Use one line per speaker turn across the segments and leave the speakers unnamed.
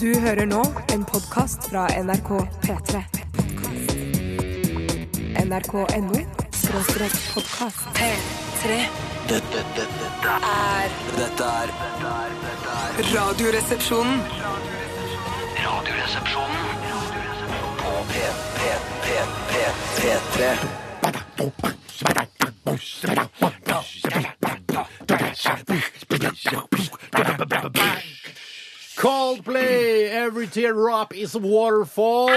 Du hører nå en podkast fra NRK P3. NRK.no skråstrek podkast. P3.
Dette, dette, dette,
er
dette er dette er- dette er
Radioresepsjonen.
Radioresepsjonen på P, P, P, P, P3.
Coldplay, Every Teardrop Is a Waterfall.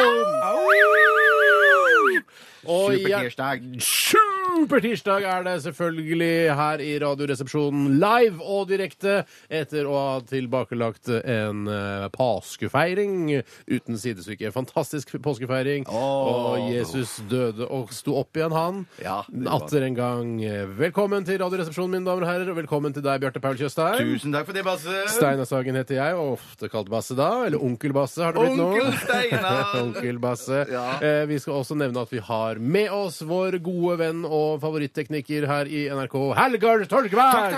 Og ja, Mm.
Supertirsdag.
supertirsdag er det selvfølgelig her i Radioresepsjonen live og direkte etter å ha tilbakelagt en eh, påskefeiring uten sidestykke. Fantastisk påskefeiring. Og Jesus døde og sto opp igjen, han.
Ja, det var-
Atter en gang. eh, Velkommen til Radioresepsjonen, mine damer og herrer, og velkommen til deg, Bjarte Paul Tjøstheim.
Tusen takk for det, Basse.
Steinar Sagen heter jeg, og ofte kalt Basse da. Eller Onkel Basse har det blitt nå.
Onkel Steinar.
Onkel Basse.
Ja.
Eh, vi skal også nevne at vi har med oss vår gode venn og favorittekniker her i NRK, Helgar Tolkvær!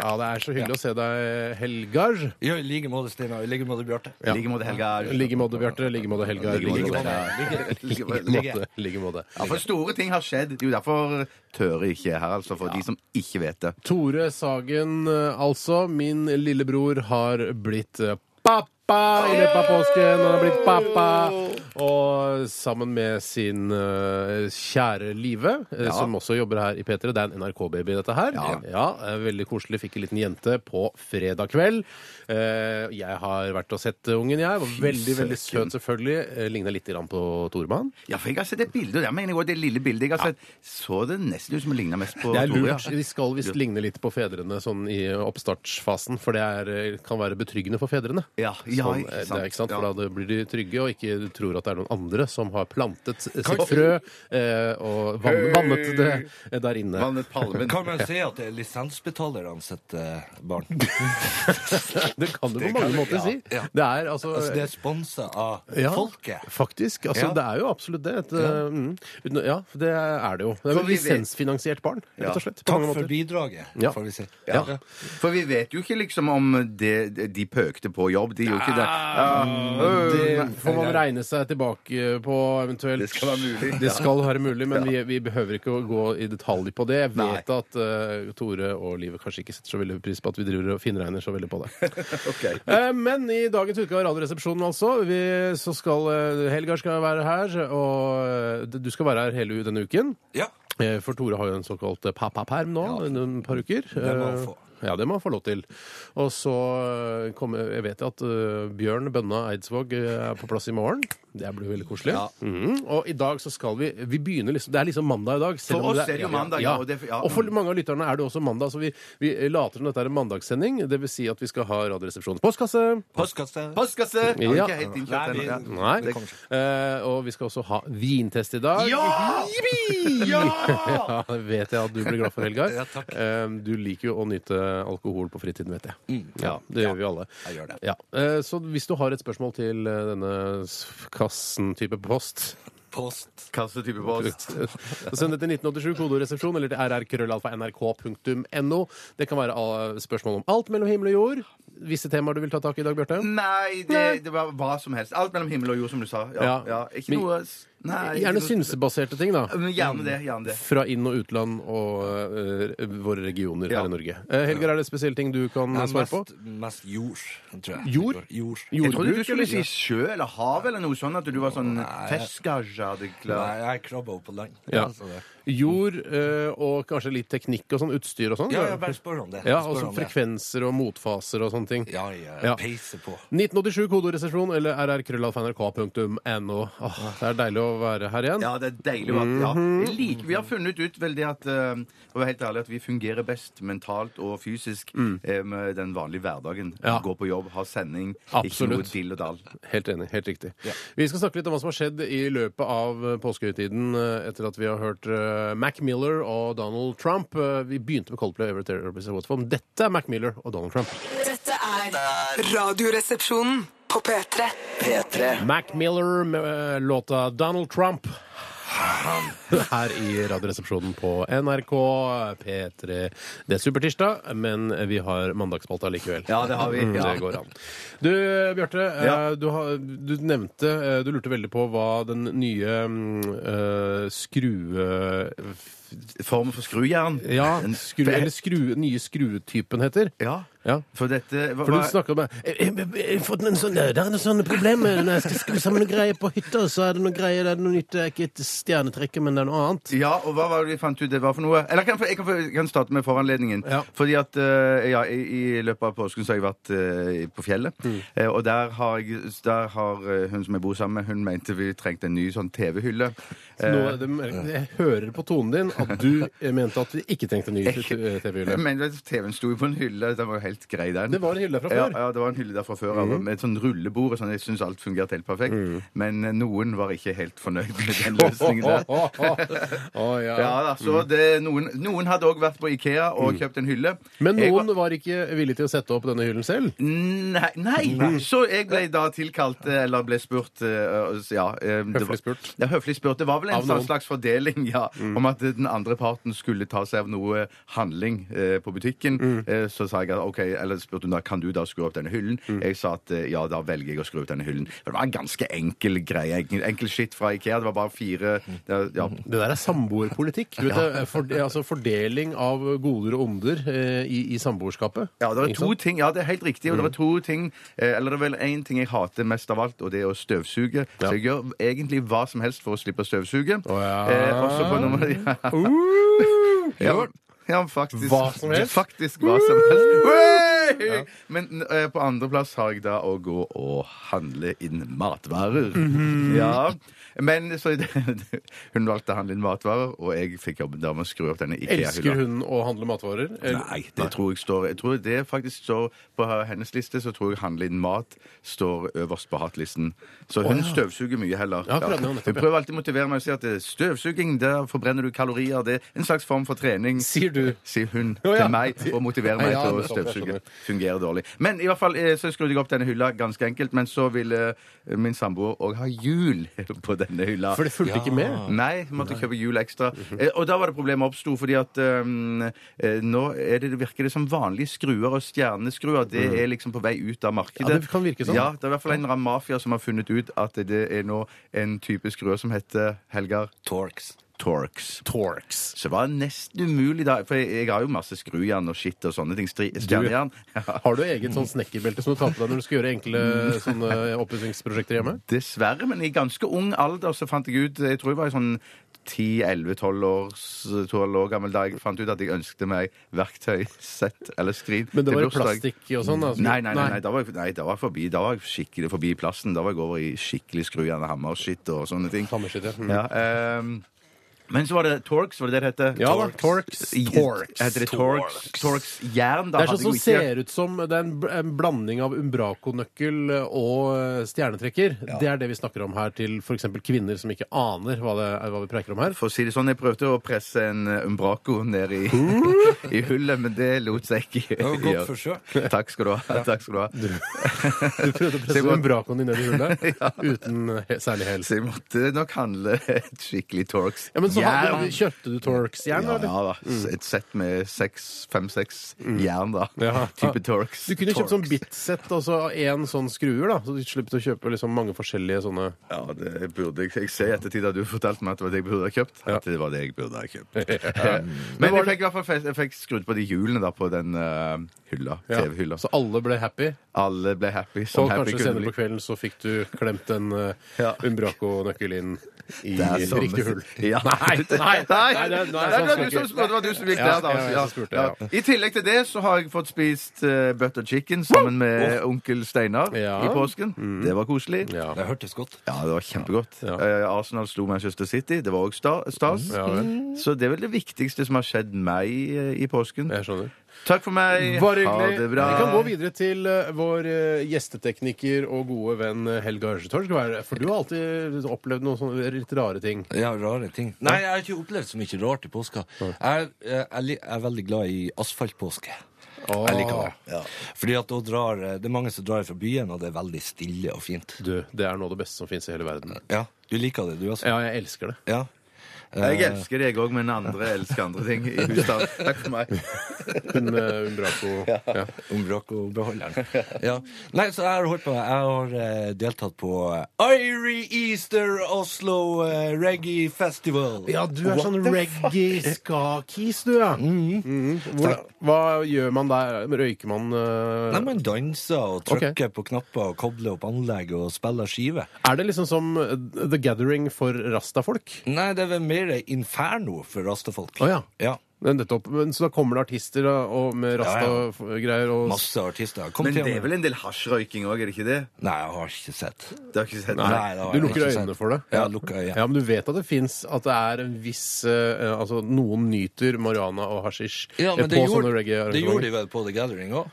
Ja, det er så hyggelig å se deg, Helgar.
Ja, I like måte, Steinar. I like måte, Bjarte.
I like måte, Helgar.
I like måte, Bjarte. I like måte, Helgar. I
I
like
like
måte.
Like
I like
måte.
måte. I like måte.
Ja, for store ting har skjedd. Det er jo derfor tør jeg ikke her, altså. For de som ikke vet det.
Tore Sagen, eh, altså. Min lillebror har blitt eh, pappa i løpet av påsken. Han har blitt pappa. Og sammen med sin eh, kjære Live, eh, som også jobber her i P3. Det er en NRK-baby, dette her. Ja. eh, Veldig koselig. Fikk en liten jente på fredag kveld. Eh, Jeg har vært og sett eh, ungen, jeg. Var veldig, veldig
søken.
søt, selvfølgelig. Ligna litt grann på Toremann.
Ja, for jeg har sett et bilde, og der mener jeg også det lille bildet jeg har sett, så det nesten ut som det ligner mest på
Det er
Tore.
lurt. De skal visst ligne litt på fedrene sånn i oppstartsfasen, for det er, kan være betryggende for fedrene.
Ja, ja,
Sånn,
ikke
Det er ikke sant,
Ja.
for Da blir de trygge og ikke tror at det er noen andre som har plantet sitt
Kanskje-
frø eh, og vann, vannet det eh, der inne.
Vannet palmen.
Kan man si at det er lisensbetalerne sitt eh, barn?
Det kan du på
kan
mange
du-
måter
ja,
si.
ja.
Det er altså,
Altså, det er sponsa av
ja,
folket.
Faktisk. altså
Ja.
Det er jo absolutt det. Et, eh, mm, uten- ja, det er det jo. Det er
For
jo et
vi vet-
lisensfinansiert barn, rett og slett. På
Takk
mange
for
måter.
bidraget,
Ja.
får vi si.
Ja.
For vi vet jo ikke liksom om det, de pøkte på jobb. De gjorde ikke det.
Ah.
Ja,
Det får man regne seg tilbake på eventuelt.
Det skal være mulig.
Det skal være mulig, men vi, vi behøver ikke å gå i detalj på det. Jeg vet at eh, Tore og Livet kanskje ikke setter så veldig pris på at vi driver og finregner så veldig på det.
Ok.
Eh, men i dagens utgave av Radioresepsjonen altså, vi, så skal eh, Helgar skal være her, og eh, du skal være her hele denne uken.
Ja.
Eh, For Tore har jo en såkalt eh, pappaperm nå, en- en par uker.
må han
Eh,
få.
Ja, det må han få lov til. Og så eh, kommer Jeg vet at eh, Bjørn Bønna Eidsvåg eh, er på plass i morgen. Det blir veldig koselig. Mhm. Og i dag så skal vi Vi begynner liksom Det er liksom mandag i dag. selv
For
om
oss
det
er det jo mandag,
Ja.
ja, og det- ja.
Og for mange av lytterne er det også mandag, så vi, vi later som dette er en mandagssending. Det vil si at vi skal ha Radioresepsjonens postkasse.
Postkasse.
Postkasse!
Ja.
Har ikke helt innkjørt
Nei, vi-
ennå. Ja.
Nei.
Det kommer
Eh, og vi skal også ha vintest i dag.
Ja!
ja! Det vet jeg at du blir glad for, Helgar.
Ja, takk.
Eh, du liker jo å nyte alkohol på fritiden, vet jeg. ja, Det gjør vi alle.
Mm. jeg gjør det.
Ja. Eh, så hvis du har et spørsmål til eh, denne s- kassen-type post,
Post.
Kassetype post.
så send det til 1987 kodoresepsjon eller til rrkrøllalfa.nrk.no. Det kan være eh, spørsmål om alt mellom himmel og jord. Visse temaer du vil ta tak i i dag, Bjarte?
Nei, det, det var hva som helst. Alt mellom himmel og jord, som du sa. Ja,
Ja.
ja. Ikke
Men-
noe s- Nei.
Gjerne
ikke noe-
synsebaserte ting, da.
Men Gjerne det. Gjerne det.
Fra inn- og utland og eh, våre regioner
Ja.
her i Norge. Eh, Helgar, er det spesielle ting du kan
Ja,
svare på?
mest, mest jord, tror jeg.
Jord?
Jord.
Jord.
Jeg trodde du
Jordbruk,
skulle si sjø eller hav eller noe sånn at du var sånn Fescaja, det er
Nei,
klart.
jeg krabber opp på land.
Ja.
så det-
Jord eh, og kanskje litt teknikk og sånn, utstyr og sånn?
ja,
eller?
jeg bare spør om det.
ja,
Jeg
og
spør
så
om det.
frekvenser og motfaser og sånne ting.
Ja, ja,
Ja.
jeg peiser på.
1987 kodoresesjon eller rrkrøllalfa.nrk.no. Åh, det er deilig å være her igjen.
Ja, det er deilig. å være- Ja.
Mhm.
Jeg liker, vi har funnet ut vel det at eh, for å være helt ærlig, at vi fungerer best mentalt og fysisk eh, med den vanlige hverdagen.
Mm. Ja.
Gå på jobb, ha sending, ikke noe
Absolutt.
dill og dall.
Helt enig. Helt riktig. Vi skal snakke litt om hva som har skjedd i løpet av eh, påskehøytiden eh, etter at vi har hørt eh, Mac Miller og Donald Trump. Eh, Vi begynte med Coldplay og Every Therapist of Waterform. Dette er Mac Miller og Donald Trump.
Dette er Radioresepsjonen på P3.
P3.
Mac Miller med eh, låta Donald Trump. her i Radioresepsjonen på NRK P3. Det er supertirsdag, men vi har mandagsspalta likevel.
Ja, det har vi,
Mm,
ja.
Det går an. Du, Bjarte, eh,
Ja.
du, har- du nevnte eh, Du lurte veldig på hva den nye mm, eh, skrue...
Form for skrujern.
Ja,
En-
skru, eller skru, nye skruetypen heter.
Ja.
Ja.
For dette hva-
For du
hva-
snakka med jeg, jeg, jeg, jeg har eh, fått en sånn, Det er noe sånne problemer når jeg skal skru sammen noe greier på hytta. Så er det noe greier, det er noe nytt, det er ikke et stjernetrekke, men det er noe annet.
Ja, og hva var det vi fant ut det var for noe? Eller kan, jeg, kan, jeg kan starte med foranledningen.
Ja.
Fordi at eh, ja, i, i løpet av påsken så har jeg vært eh, på fjellet.
Mm.
Eh, og der har, jeg, der har eh, hun som jeg bor sammen med, hun mente vi trengte en ny sånn TV-hylle. Eh,
Nå, er det, mer- jeg hører på tonen din at du eh, mente at vi ikke trengte en ny
Eh,
TV-hylle.
Men vet du, TV-en sto jo på en hylle. Den var jo helt grei, den.
Det var en hylle fra før. Mm.
Ja, ja det var en hylle der fra før. av, Med et sånn rullebord og sånn. Jeg syns alt fungerte helt perfekt. Men eh, noen var ikke helt fornøyd med den løsningen der.
Å, å, å, å, ja. Mm.
Ja, da, så det, noen, noen hadde òg vært på Ikea og kjøpt en hylle.
Men
Jeg var-
noen var ikke villig til å sette opp denne hyllen selv.
Nei, nei.
Mm.
Så jeg ble da tilkalt, eh, eller ble spurt eh, ja, eh, det var-
Høflig spurt.
Ja, høflig spurt. Det var vel en
Av noen. Mm.
sånn slags fordeling, ja. Om at den andre parten skulle ta seg av noe handling eh, på butikken.
Mm.
Eh, så sa jeg at OK, eller spurte hun da kan du da skru opp denne hyllen.
Mm.
Jeg sa at eh, ja, da velger jeg å skru opp denne hyllen. For det var en ganske enkel greie. Enkel, enkel skitt fra Ikea. Det var bare fire
Mm.
ja,
Det der er samboerpolitikk. Du vet det, for, altså fordeling av goder og onder eh, i, i samboerskapet.
Ja, det er
Ikke
to
sant? Mm.
ting, ja, det er helt riktig. Og det er to ting, eh, eller det er vel én ting jeg hater mest av alt, og det er å støvsuge. Så jeg gjør egentlig hva som helst for å slippe å støvsuge.
Å, ja. Mm.
eh, også på nummer ja.
Uh!
ja. Ja, faktisk.
Hva som helst?
Faktisk hva som helst. Oi! Men eh, på andreplass har jeg da å gå og handle inn matvarer.
Mm-hmm.
Ja. Men så Hun valgte å handle inn matvarer, og jeg fikk jobben der med å skru opp denne Ikea-hylla.
Elsker hun å handle matvarer? Eller-
Nei, det tror jeg står Jeg tror det faktisk står på hennes liste, så tror jeg handle inn mat står øverst på hatlisten. Så hun støvsuger mye heller.
Ja, akkurat nå, nettopp,
Hun
ja.
prøver alltid å motivere meg og si at eh, støvsuging, der forbrenner du kalorier. Det er en slags form for trening.
Sier du.
Sier hun
Å, ja.
til meg og motiverer meg
Ja,
til å
nettopp, jeg
støvsuge.
skjønner.
Fungerer dårlig. Men i hvert fall eh, så skrudde jeg opp denne hylla ganske enkelt, men så ville eh, min samboer òg ha hjul på denne hylla.
For det fulgte ikke med.
Nei, vi måtte kjøpe hjul ekstra.
Mhm.
Eh, Og da var det problemet oppsto, fordi at um, eh, nå er det, det virker det som vanlige skruer og stjerneskruer. Det er liksom på vei ut av markedet.
Mhm. Ja, det kan virke sånn.
Ja, det er i hvert fall en eller annen mafia som har funnet ut at det er nå en type skruer som heter Helgar
Torx.
Torx.
Torx.
Så det var nesten umulig, da. For jeg, jeg har jo masse skrujern og skitt og sånne ting. Stri, stjernejern. Ja.
Har du eget sånn snekkerbelte som du tar på deg når du skal gjøre enkle
Mm.
sånne oppussingsprosjekter hjemme?
Dessverre, men i ganske ung alder så fant jeg ut Jeg tror jeg var i sånn 10-11-12 år, 12 år gammel da jeg fant ut at jeg ønsket meg verktøy, sett eller skriv.
Men det
til
var jo
bursdag.
plastikk i og sånn. Altså.
Nei, nei, nei, nei, da var jeg, nei, da var jeg forbi Da var jeg skikkelig forbi plassen. Da var jeg over i skikkelig skrujern og hammer og skitt og sånne ting.
Hammerskitt, ja. Mm.
Ja, ehm, men så var det Torx, var det det det het?
Ja da, Torx. Torx.
Heter det Torx? Torx jern,
Det
da?
er
hadde
sånn som
jeg jo ikke-
ser ut som det er en, bl- en blanding av umbrakonøkkel og eh, stjernetrekker. Det er det vi snakker om her til f.eks. kvinner som ikke aner hva, det er, hva vi preiker om her.
For å si det sånn, jeg prøvde å presse en eh, umbraco ned i, i hullet, men det lot seg ikke
var et godt
forsøk. Takk skal du ha. Takk skal du ha.
Du prøvde å presse
Så jeg må-
umbrakoen din ned i hullet uten he- særlig hell.
Så jeg måtte nok handle et skikkelig Torx.
Ja, men så
jern.
hadde, kjøpte du Torx-jern,
ja,
eller? Mm.
ja da. Et sett med seks- fem-seks jern, da.
Ja.
Type Torx.
Du kunne kjøpt sånn
Torx.
bitsett og så én sånn skruer, da. Så du slipper å kjøpe liksom mange forskjellige sånne
Ja, det burde jeg. Jeg ser i ettertid at du fortalte meg at det var det jeg burde ha kjøpt.
Ja.
At det var det jeg burde ha kjøpt. Men jeg fikk i hvert fall fest- jeg fikk skrudd på de hjulene da på den eh, hylla.
Ja.
TV-hylla.
Så alle ble happy.
Alle ble happy.
Og
Som happy
kanskje
kunne
senere
bli.
på kvelden så fikk du klemt en uh,
Ja.
Umbraco-nøkkel inn i
Det er sånn-
riktig hull.
Ja.
Nei, nei, nei, nei,
det,
det er- nei, sånn skal
var du som
ikke-
spurte, det var du som gikk
Ja,
der, da.
ja, jeg som spurte, ja.
I tillegg til det så har jeg fått spist eh, butter chicken sammen med onkel Steinar
Ja. Mm.
i påsken. Det var koselig.
Ja.
Det hørtes godt.
Ja, det var kjempegodt.
Ja. Mm.
Eh, Arsenal slo Manchester City. Det var òg stas.
Ja vel.
Så det er vel det viktigste som har skjedd meg eh, i påsken.
Jeg skjønner.
Takk for meg.
Bare
ha
Mm. hyggelig.
det bra.
Vi kan gå videre til eh, vår eh, gjestetekniker og gode venn eh, Helga Ørsetorg. Hva er det? For du har alltid opplevd noen sånne litt rare ting.
Ja, rare ting. Nei, jeg har ikke opplevd så mye rart i påska. Jeg, eh, jeg, jeg li- jeg er veldig glad i asfaltpåske. Jeg liker det. Fordi at da drar, eh, det er mange som drar fra byen, og det er veldig stille og fint.
Du, det er noe av det beste som fins i hele verden.
Ja, Du liker det, du også?
Ja, jeg elsker det.
Ja.
Eh, Jeg elsker deg òg, men andre elsker andre ting i husstanden. Takk for meg.
Hun eh, Umbraco. Ja.
Umbraco-beholderen. Ja. Nei, så jeg har holdt på. Jeg har eh, deltatt på eh, Irie Easter Oslo eh, Reggae Festival.
Ja, du er sånn reggae-ska-kis, du, ja.
Mhm.
Hvordan- Mhm. hva gjør man der? Røyker man eh,
Nei, man danser og trykker på knapper og kobler opp anlegg og spiller skive.
Er det liksom som eh, The Gathering for rastafolk?
Nei, det er vel mer inferno for rastefolk.
Å, ja.
ja.
Nettopp. Men, så da kommer det artister da, og med
Ja,
rasta-greier og
Masse artister. Kom
Men
til
det er
meg.
vel en del hasjrøyking òg, er det ikke det?
Nei, jeg har ikke sett.
Det har jeg ikke sett.
Nei, det har
Du
jeg
lukker
ikke sett.
øynene for det?
Ja, lukker øynene.
Ja, Men du vet at det fins at det er en viss eh, Altså, noen nyter marihuana og hasjisj
Ja,
eh, på sånne
men det gjorde, det gjorde
reggae-arrangementer.
de vel på The Gathering òg?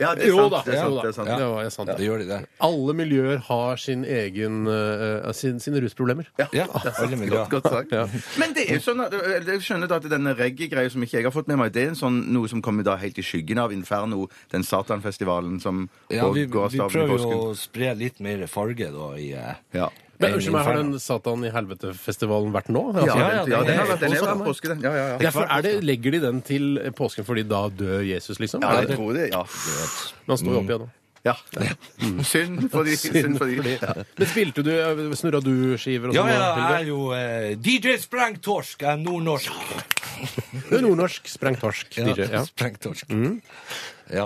Ja, det er
Jo
sant.
da,
Det er
jo
sant,
da.
det er sant.
Ja, det er sant.
Det gjør de det.
Alle miljøer har sin egen, eh, eh, sin, sine rusproblemer.
Ja, alle miljøer.
Godt, godt sagt. Men det er jo sånn at, jeg skjønner da at denne reggae-greia som ikke jeg har fått med meg, det er en sånn, noe som kommer da helt i skyggen av Inferno, den satanfestivalen som
Ja, vi,
går av
vi
stabelen i
prøver jo
påsken.
å spre litt mer farge da i eh,
Ja.
Men
en
unnskyld meg, har
inferno.
den Satan i helvete-festivalen vært nå? Altså,
Ja,
ja,
den, ja,
det-
den har
det-
vært den er
også-
fra påske, den. Ja, ja, ja.
Ja, for er det, Legger de den til påsken fordi da dør Jesus, liksom?
Ja,
Er
jeg
det,
tror det. Ja.
men han står jo opp igjen nå.
ja. Synd for de. Synd for de. Ja.
Men spilte du eh, Snurra du skiver og
Ja,
sånn?
ja,
da, Hilde?
jeg er jo eh, DJ Sprengtorsk. Jeg er nordnorsk.
Du er Nordnorsk, sprengt torsk, DJ. Ja.
Sprengtorsk.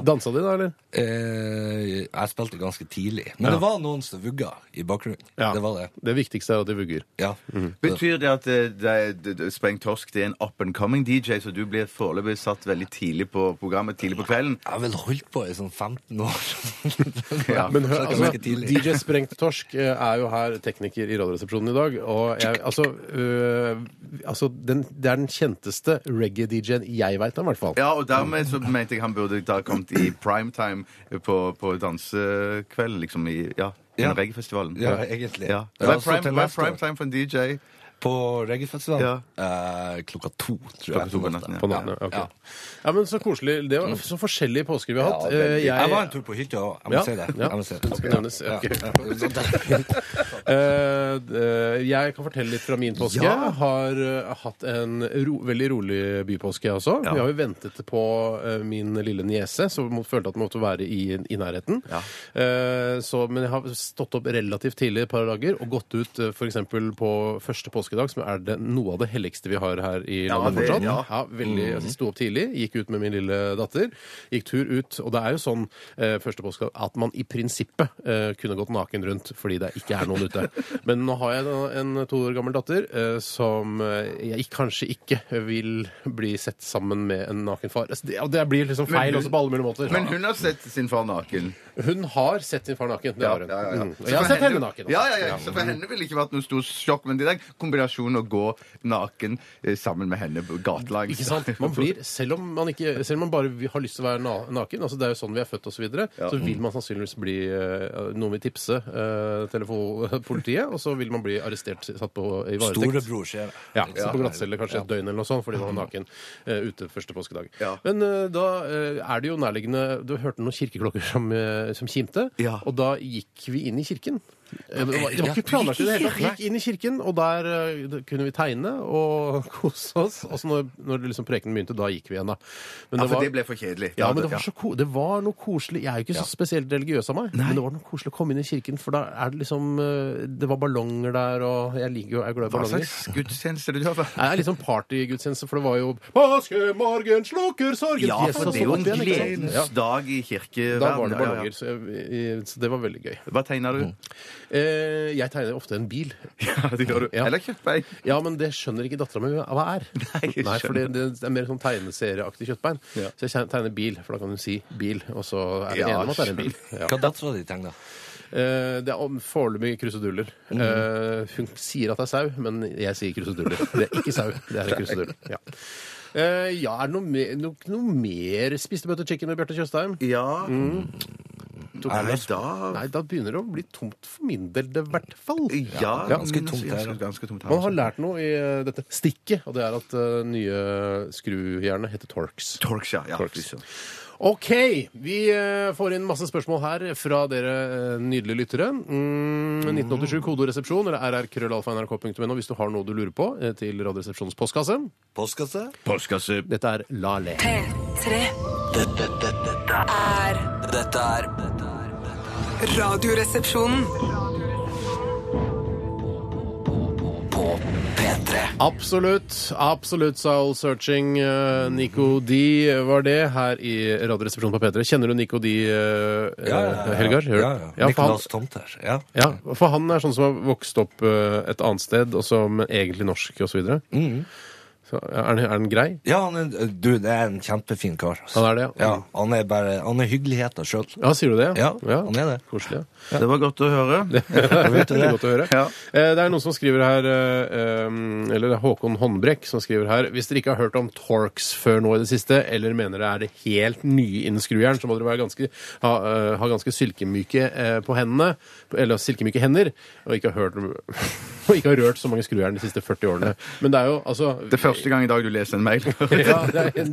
Dansa de da, eller?
Eh, jeg spilte ganske tidlig. Men det var noen som vugga i bakgrunnen. Det var det.
Det viktigste er at de vugger.
Ja.
Mm. Betyr det at eh, det, det, det, Spreng Torsk det er en up and coming DJ, så du blir foreløpig satt veldig tidlig på programmet, tidlig på kvelden?
Jeg har vel holdt på i sånn 15 år.
Ja,
Men hør,
Så det kan
altså,
virke tidlig.
DJ Sprengt Torsk eh, er jo her tekniker i Radioresepsjonen i dag. Og jeg, altså, øh, altså den, Det er den kjenteste reggae-DJ-en jeg veit om, i hvert fall.
Ja, og dermed så mente jeg han burde da ha kommet i primetime på, på dansekvelden, liksom i ja,
Ja.
ja. reggaefestivalen.
Ja, egentlig.
Ja.
Ja,
Hva er
så til
prime, hva er
neste år.
primetime for en DJ?
På reggaefestivalen eh, klokka to, tror jeg.
to på natten, ja.
På navnet, ok.
Ja. Mm.
ja, men Så koselig. Det var så forskjellige påsker vi har hatt.
Ja,
Eh,
veldig. jeg, var en tur på hytta òg. Jeg må
Ja,
si det.
ja.
Jeg må si
Det skal
det.
nevnes, ja, ok. Eh, eh, jeg kan fortelle litt fra min påske.
Ja.
Har eh, hatt en ro, veldig rolig bypåske, jeg også.
Ja.
Vi har jo ventet på eh, min lille niese, som må- følte at den måtte være i, i nærheten.
Ja.
Eh, så, men jeg har stått opp relativt tidlig et par dager og gått ut eh, for f.eks. på første påskedag, som er det, noe av det helligste vi har her i
Ja,
landet
det-
fortsatt.
ja.
Ja, veldig,
Mm.
altså, Sto opp tidlig, gikk ut med min lille datter. Gikk tur ut. Og det er jo sånn eh, første påske at man i prinsippet eh, kunne gått naken rundt fordi det ikke er noen ute. Men nå har jeg da en to år gammel datter eh, som eh, jeg ikk- kanskje ikke vil bli sett sammen med en naken far. Altså, det, og det blir liksom
Men
feil
hun-
også på alle mulige måter.
Men hun har sett sin far naken.
Hun har sett sin far naken. Det har hun. Mm.
Så
Og jeg har
for
sett henne naken. også.
Ja, ja, ja. Så for henne ville det ikke vært noe stort sjokk, men det er en kombinasjon å gå naken eh, sammen med henne på gatelangs.
Ikke sant? Man blir, selv om man, ikke, selv om man bare vil- har lyst til å være na naken, altså det er jo sånn vi er født osv., så, videre,
Ja.
så vil man sannsynligvis bli eh, Noen vil tipse eh, telefon- politiet, og så vil man bli arrestert, satt på, i varetekt.
Storebror ser det.
Ja, så på glattcelle kanskje et døgn eller noe sånt, fordi man var naken eh, ute første påskedag.
Ja.
Men eh, da eh, er det jo nærliggende Du hørte noen kirkeklokker som, eh, som kimte,
Ja.
og da gikk vi inn i kirken. Eh, Det var, det var ikke planlagt i det hele tatt. Vi gikk inn i kirken, og der eh, da kunne vi tegne og kose oss. Og så når, når liksom prekenen begynte, da gikk vi igjen, da. Men
Ja, for det ble for kjedelig.
ja, men det var, så ko det var noe koselig Jeg er jo ikke så spesielt religiøs av meg, men det var noe koselig å komme inn i kirken, for da er det liksom eh, Det var ballonger der, og jeg liker jo Jeg er glad i
Hva
ballonger.
slags gudstjeneste du har vært?
Nei, Det er litt sånn partygudstjeneste, for det var jo Påskemorgen slukker sorgen
Ja, for det er jo en
Jesus, og så opp igjen, ikke sant?
gledens dag i kirkeverdenen.
Da var det
Ja, ja, ja.
ballonger, så, jeg- så det var veldig gøy.
Hva tegner
Mm.
du?
Eh, Jeg tegner ofte en bil.
Ja, det gjør du.
Ja.
Eller kjøttdeig.
Ja, men det skjønner ikke dattera mi hva er.
Nei, jeg
for det, det er mer sånn tegneserieaktig kjøttbein.
Ja.
Så jeg tegner bil, for da kan hun si bil, og så er vi
Ja,
enige om at det er en bil. Ja.
Hva dattera di tegna?
Eh, Det er om- foreløpig kruseduller. Eh, Hun sier at det er sau, men jeg sier kruseduller. Det er ikke sau, det er en krusedull. Ja. Eh, ja, er det noe mer, no, noe mer spiste butter chicken med Bjarte Tjøstheim?
Ja.
Mm. Tok-
Nei, da
Nei, da begynner det å bli tomt for min del, det i hvert fall.
Ja,
ganske
men-
tungt her, da.
ganske tungt her.
Man har lært noe i eh, dette stikket, og det er at eh, nye skrujernet heter Torx.
Torx, ja. ja
Torx.
fy søren.
OK. Vi eh, får inn masse spørsmål her fra dere eh, nydelige lyttere. Mm, 1987 kodoresepsjon eller rrkrøllalfa.nrk.no hvis du har noe du lurer på eh, til Radioresepsjonens postkasse.
Postkasse?
Postkasse.
Dette er La Le.
P3
Dette, dette, dette er
er
Dette er dette er-
Radioresepsjonen.
På P3
Absolutt. Absolutt soul searching. eh, Nico D var det her i Radioresepsjonen på P3. Kjenner du Nico D, eh, Helgar? Gjør du?
Ja, ja.
Ja, for han,
Nicolas Tomter. Ja.
ja, for han er sånn som har vokst opp eh, et annet sted, og som er egentlig norsk osv.
Mm.
Så, ja, er, han- er han grei?
ja, han er, du, det er en kjempefin kar. altså.
Han er det, ja.
ja. Han er bare Han er hyggeligheten sjøl.
Ja, sier du det?
Ja, han er det.
Koselig. ja.
Det var godt å høre.
Vet du
Veldig
det?
godt å høre.
Ja.
Eh, Det er noen som skriver her, eh, um, eller det er Håkon Håndbrekk som skriver her Hvis dere ikke har hørt om Torx før nå i det siste, eller mener det er det helt nye innen skrujern, så må dere være ganske, ha, eh, ha ganske silkemyke eh, på hendene, eller silkemyke hender, og ikke ha hørt om- og ikke ha rørt så mange skrujern de siste 40 årene. Men det er jo altså
Det er første gang i dag du leser en mail.
ja, det er en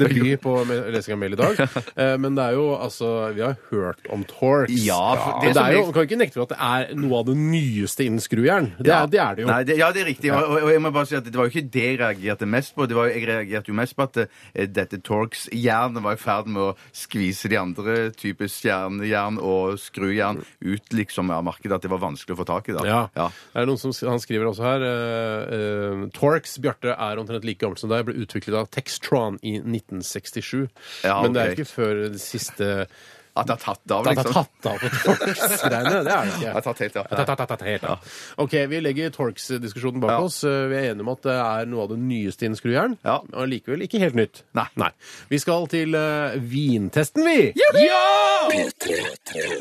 debut på me- lesing av mail i dag. Eh, Men det er jo altså Vi har hørt om Torx.
Ja, for
det,
det
det er
som
jo,
jeg-
man kan ikke nekte for at det er noe av det nyeste innen skrujern. Det, er- det er det jo.
Nei, det, ja, det er riktig. Og, og, og jeg må bare si at det var jo ikke det jeg reagerte mest på. Det var, jo- jeg reagerte jo mest på at eh, dette Torx-jernet var i ferd med å skvise de andre typer stjernejern og skrujern ut liksom av markedet. At det var vanskelig å få tak i. da.
Ja.
Ja.
Det er noen som, han skriver også her uh, Torx, Bjarte, er omtrent like gammel som deg. Ble utviklet av Textron i 1967.
Ja,
Men det er
ok.
ikke før det siste
At det har tatt
Da
av,
har
liksom.
tatt tatt av på Torx-greiene. Det er det
Det har
ikke.
tatt helt av.
Ta, ta, ta, ta, ta, helt av. OK, vi legger Torx-diskusjonen bak
Ja.
oss. Eh, Vi er enige om at det er noe av det nyeste innen skrujern.
Ja.
Og likevel ikke helt nytt.
Nei.
Vi skal til eh, vintesten, vi!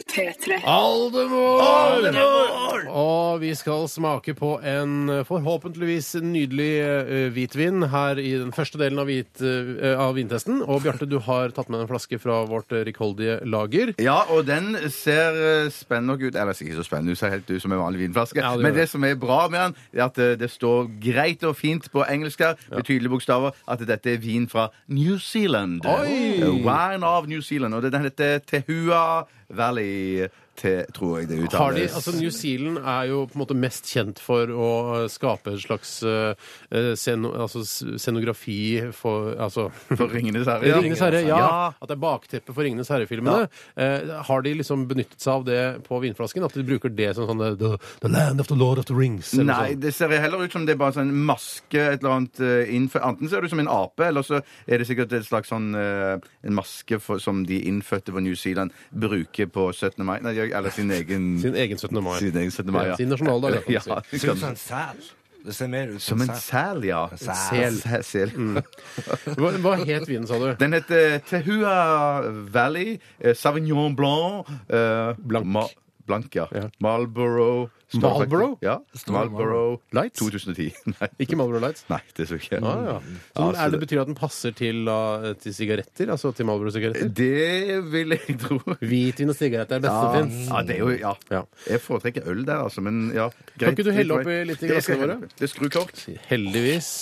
P3.
Aldemor! Og vi skal smake på en eh, forhåpentligvis nydelig eh, hvitvin her i den første delen av, hvit, eh, av vintesten. Og Bjarte, du har tatt med en flaske fra vårt eh, rikholdige lager.
Ja, og den ser eh, spennende nok ut. Eller altså, ikke så spennende, den ser helt ut som en vanlig vinflaske.
Ja, det gjør
Men det
det.
som er bra med den, er at eh, det står greit og fint på engelsk her, med tydelige bokstaver, at dette er vin fra New Zealand.
Oi!
Eh, Wine of New Zealand. Og den heter Tehua Valley, te, tror jeg det uttales.
Har de, altså New Zealand er jo på en måte mest kjent for å eh, skape en slags eh, eh, sceno, altså, s- scenografi for altså,
For Ringenes herre.
Ringenes herre, ja.
Ja.
At det er bakteppet for Ringenes herre-filmene. Eh, har de liksom benyttet seg av det på vinflasken? At de bruker det som sånn eh, the, the land of the Lord of the Rings? Eller
Nei,
sånn.
det ser heller ut som det er bare sånn maske et eller annet eh, innfø- Enten ser det ut som en ape, eller så er det sikkert et slags sånn eh, en maske for, som de innfødte på New Zealand bruker på 17. mai. Nei, de- eller sin egen
Sin egen 17. mai.
sin egen 17. mai,
Ja, sin nasjonaldag, da, kan
ja,
du si.
Det ser ut som en sel. Det ser mer ut
Som en
sel.
sel, ja.
Sel.
Sel. sel.
Mm. Hva, hva het vinen, sa du?
Den heter Tehua Valley, eh, Savignon Blanc eh,
Blanc.
Ma Blanc, ja.
Ja.
Marlboro står
Marlboro?
faktisk- Ja. Marlboro
Lights?
2010. Nei.
Ikke Marlboro Lights?
Nei, det så ikke.
Ah, ja. Så
Ja,
er
så
det betyr at den passer til, da, til sigaretter? Altså til
Eh,
Marlboro-sigaretter?
Det vil jeg tro.
Hvitvin og sigaretter er det beste som
Ja,
fins.
ja, det er jo, ja.
Ja.
Jeg foretrekker øl der, altså, men ja. Greit.
ikke du helle oppi litt i
Det skal
glassene
jeg
våre?
helle oppi. Det er skrukorkt.
Heldigvis.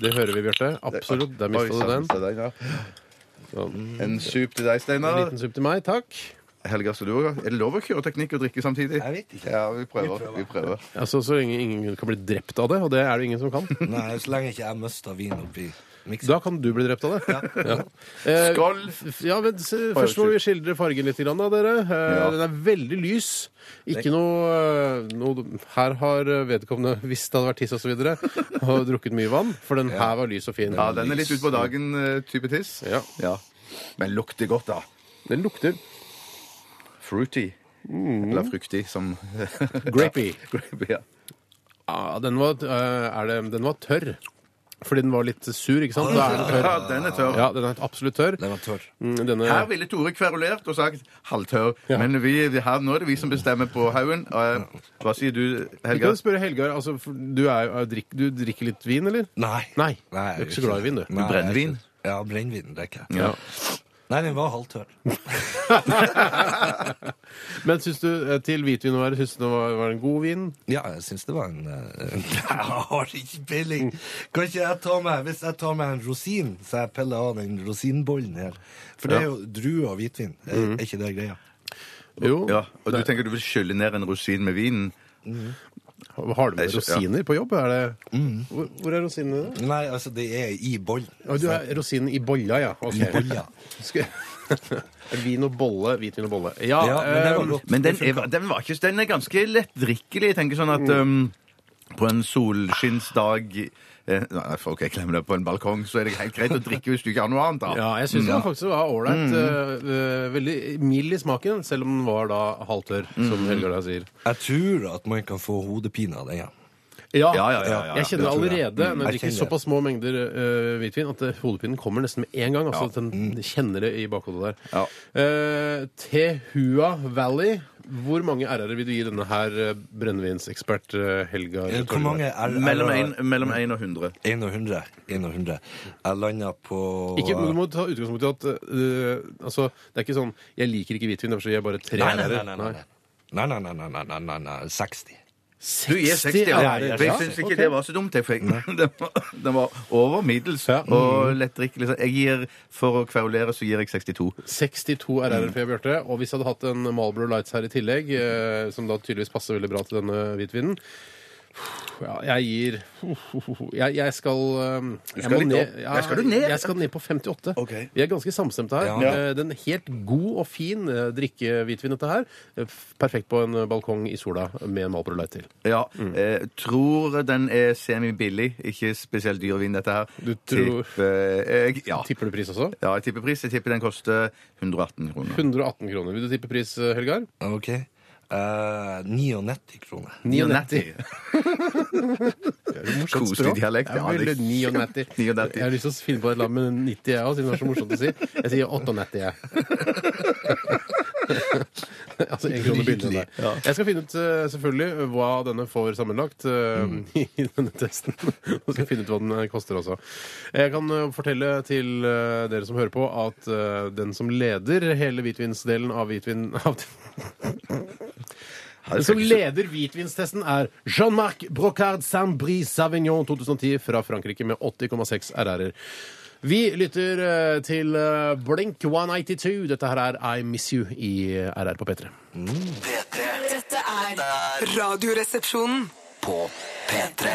Det hører vi, Bjarte. Absolutt. Der mista du den.
sånn, ja. sånn En sup til deg,
En
Steinar.
liten supp til meg. Takk.
Helga, så du også. Er det lov å kjøre teknikk og drikke samtidig?
Jeg vet ikke.
Ja, vi prøver. Vi prøver.
Altså, så lenge ingen kan bli drept av det, og det er det ingen som kan,
Nei, så lenge ikke jeg mister vin oppi miksen.
da kan du bli drept av det. Ja. Eh,
Skål!
f- Ja, men s- Først må vi skildre fargen litt, grann, da, dere. Eh,
Ja.
Den er veldig lys. Ikke noe, eh, noe Her har vedkommende, hvis det hadde vært tiss osv., drukket mye vann, for den her var lys og fin.
Ja, den er litt utpå dagen-type eh, tiss.
Ja.
Men lukter godt, da.
Den lukter Mm.
Fruity. Eller fruktig, som
grapey.
Grape, ja.
Ja, den var, eh, er det, den var tørr. Fordi den var litt sur, ikke sant? Da er den
ja,
tørr.
den er tørr.
Ja, den er absolutt tørr.
Den var tørr.
Mm, Denne,
Her ville Tore kverulert og sagt halvtørr.
Ja.
Men vi, vi- her, nå er det vi som bestemmer på haugen. Eh, Hva sier du,
Vi kan
Helga?
jo spørre Helgar. Altså, for du, er, er, drikk, du drikker litt vin, eller?
Nei.
Nei.
Nei,
du er
jeg
ikke så glad i vin, du.
Nei, jeg er
Brennevin?
ikke- Ja, brennevin drikker jeg.
Ja.
Nei, den var halvtørr.
Men syns du eh, til hvitvin å være, syns du det var, var en god vin?
Ja, jeg syns det var en eh, Jeg har ikke peiling. Kan ikke jeg ta meg, Hvis jeg tar meg en rosin, så jeg peller av den rosinbollen her For det er jo drue og hvitvin. Er, er ikke det greia?
Jo.
Ja, og du tenker du vil skylle ned en rosin med vinen?
Har du med
Jeg-
rosiner på jobb? Er det...
Mm.
hvor, hvor er rosinene? da?
Nei, altså, det er i bollen.
Å, du er rosinen i bolla, ja. Ok.
I bolla.
Skal... Vin og bolle, hvitvin og bolle. Ja,
Ja, men det var
eh,
godt.
Men den er, den, var ikke, den er ganske lettdrikkelig. Jeg tenker sånn at
Mm.
um, på en solskinnsdag eh, Nei, for- OK, jeg glemmer det. På en balkong så er det helt greit å drikke hvis du ikke har noe annet. da. Mm.
ja, jeg
Mm.
syns den faktisk var ålreit. eh, eh, veldig mild i smaken, selv om den var da halvtørr,
Mm.
som Helgar da sier.
Jeg tror at man kan få hodepine av den. Ja.
Ja,
Ja, ja, ja, ja, ja.
jeg kjenner
Det tror jeg.
allerede når jeg
Mm. Jeg
drikker
kjenner det.
såpass små mengder eh, hvitvin at eh, hodepinen kommer nesten med en gang. Altså at
Mm.
den kjenner det i bakhodet der.
Ja.
Eh, Tehua Valley. Hvor mange r-er vil du gi denne her eh, brennevinsekspert eh, Helga?
Eh, Hvor mange er
Mellom en- Mellom 1 og 100.
1 og 100. En og 100. Jeg landa på
Ikke, men du må ta utgangspunkt i at eh, altså, det er ikke sånn 'jeg liker ikke hvitvin', derfor gir jeg bare tre
Nei, nei,
r-er.
nei. nei, nei, nei, nei, nei, nei, nei, nei, nei, nei. 60.
Du gir 60, ja.
er det,
For jeg
ja.
syns ikke
Ok.
det var så dumt. Jeg fikk. Den, var, den var over middels
Ja.
og lettdrikkelig. så Jeg gir, for å kverulere, så gir jeg 62.
62 RR-er for Bjarte. Og hvis jeg hadde hatt en Marlboro Lights her i tillegg, eh, som da tydeligvis passer veldig bra til denne hvitvinen ja, jeg gir uh, Jeg, jeg skal um, Du
skal litt opp.
Ja,
Der skal du ned.
Jeg skal ned på 58.
Ok.
Vi er ganske samstemte her.
Ja.
Eh, Den er helt god og fin eh, drikkehvitvin, dette her. Eh, f- Perfekt på en eh, balkong i sola med en Marlboro Light til.
Ja.
Mm.
Eh, tror den er semi-billig. Ikke spesielt dyr vin, dette her.
Du tror-
Tipper jeg, ja.
Tipper du pris også?
ja, jeg tipper pris. Jeg tipper den koster 118 kroner.
118 kroner. Vil du tippe pris, eh, Helgar?
OK. Eh, 99 kroner.
99.
Koselig dialekt.
Ja,
det er
eller 99.
99.
Jeg har lyst til å finne på et eller annet med 90, jeg òg, siden det er så morsomt å si. Jeg sier 98, jeg. altså én krone billigere. enn deg. Jeg skal finne ut eh, selvfølgelig hva denne får sammenlagt eh,
Mm.
i denne testen. Og skal jeg finne ut hva den eh, koster også. Jeg kan eh, fortelle til eh, dere som hører på, at eh, den som leder hele hvitvinsdelen av hvitvin... Av den som leder hvitvinstesten, er Jean-Marc Brocard Saint-Brice Savignon 2010 fra Frankrike med 80,6 RR-er. Vi lytter eh, til eh, Blink 182. Dette her er I Miss You i eh, RR på P3.
P3
Dette er Radioresepsjonen.
på P3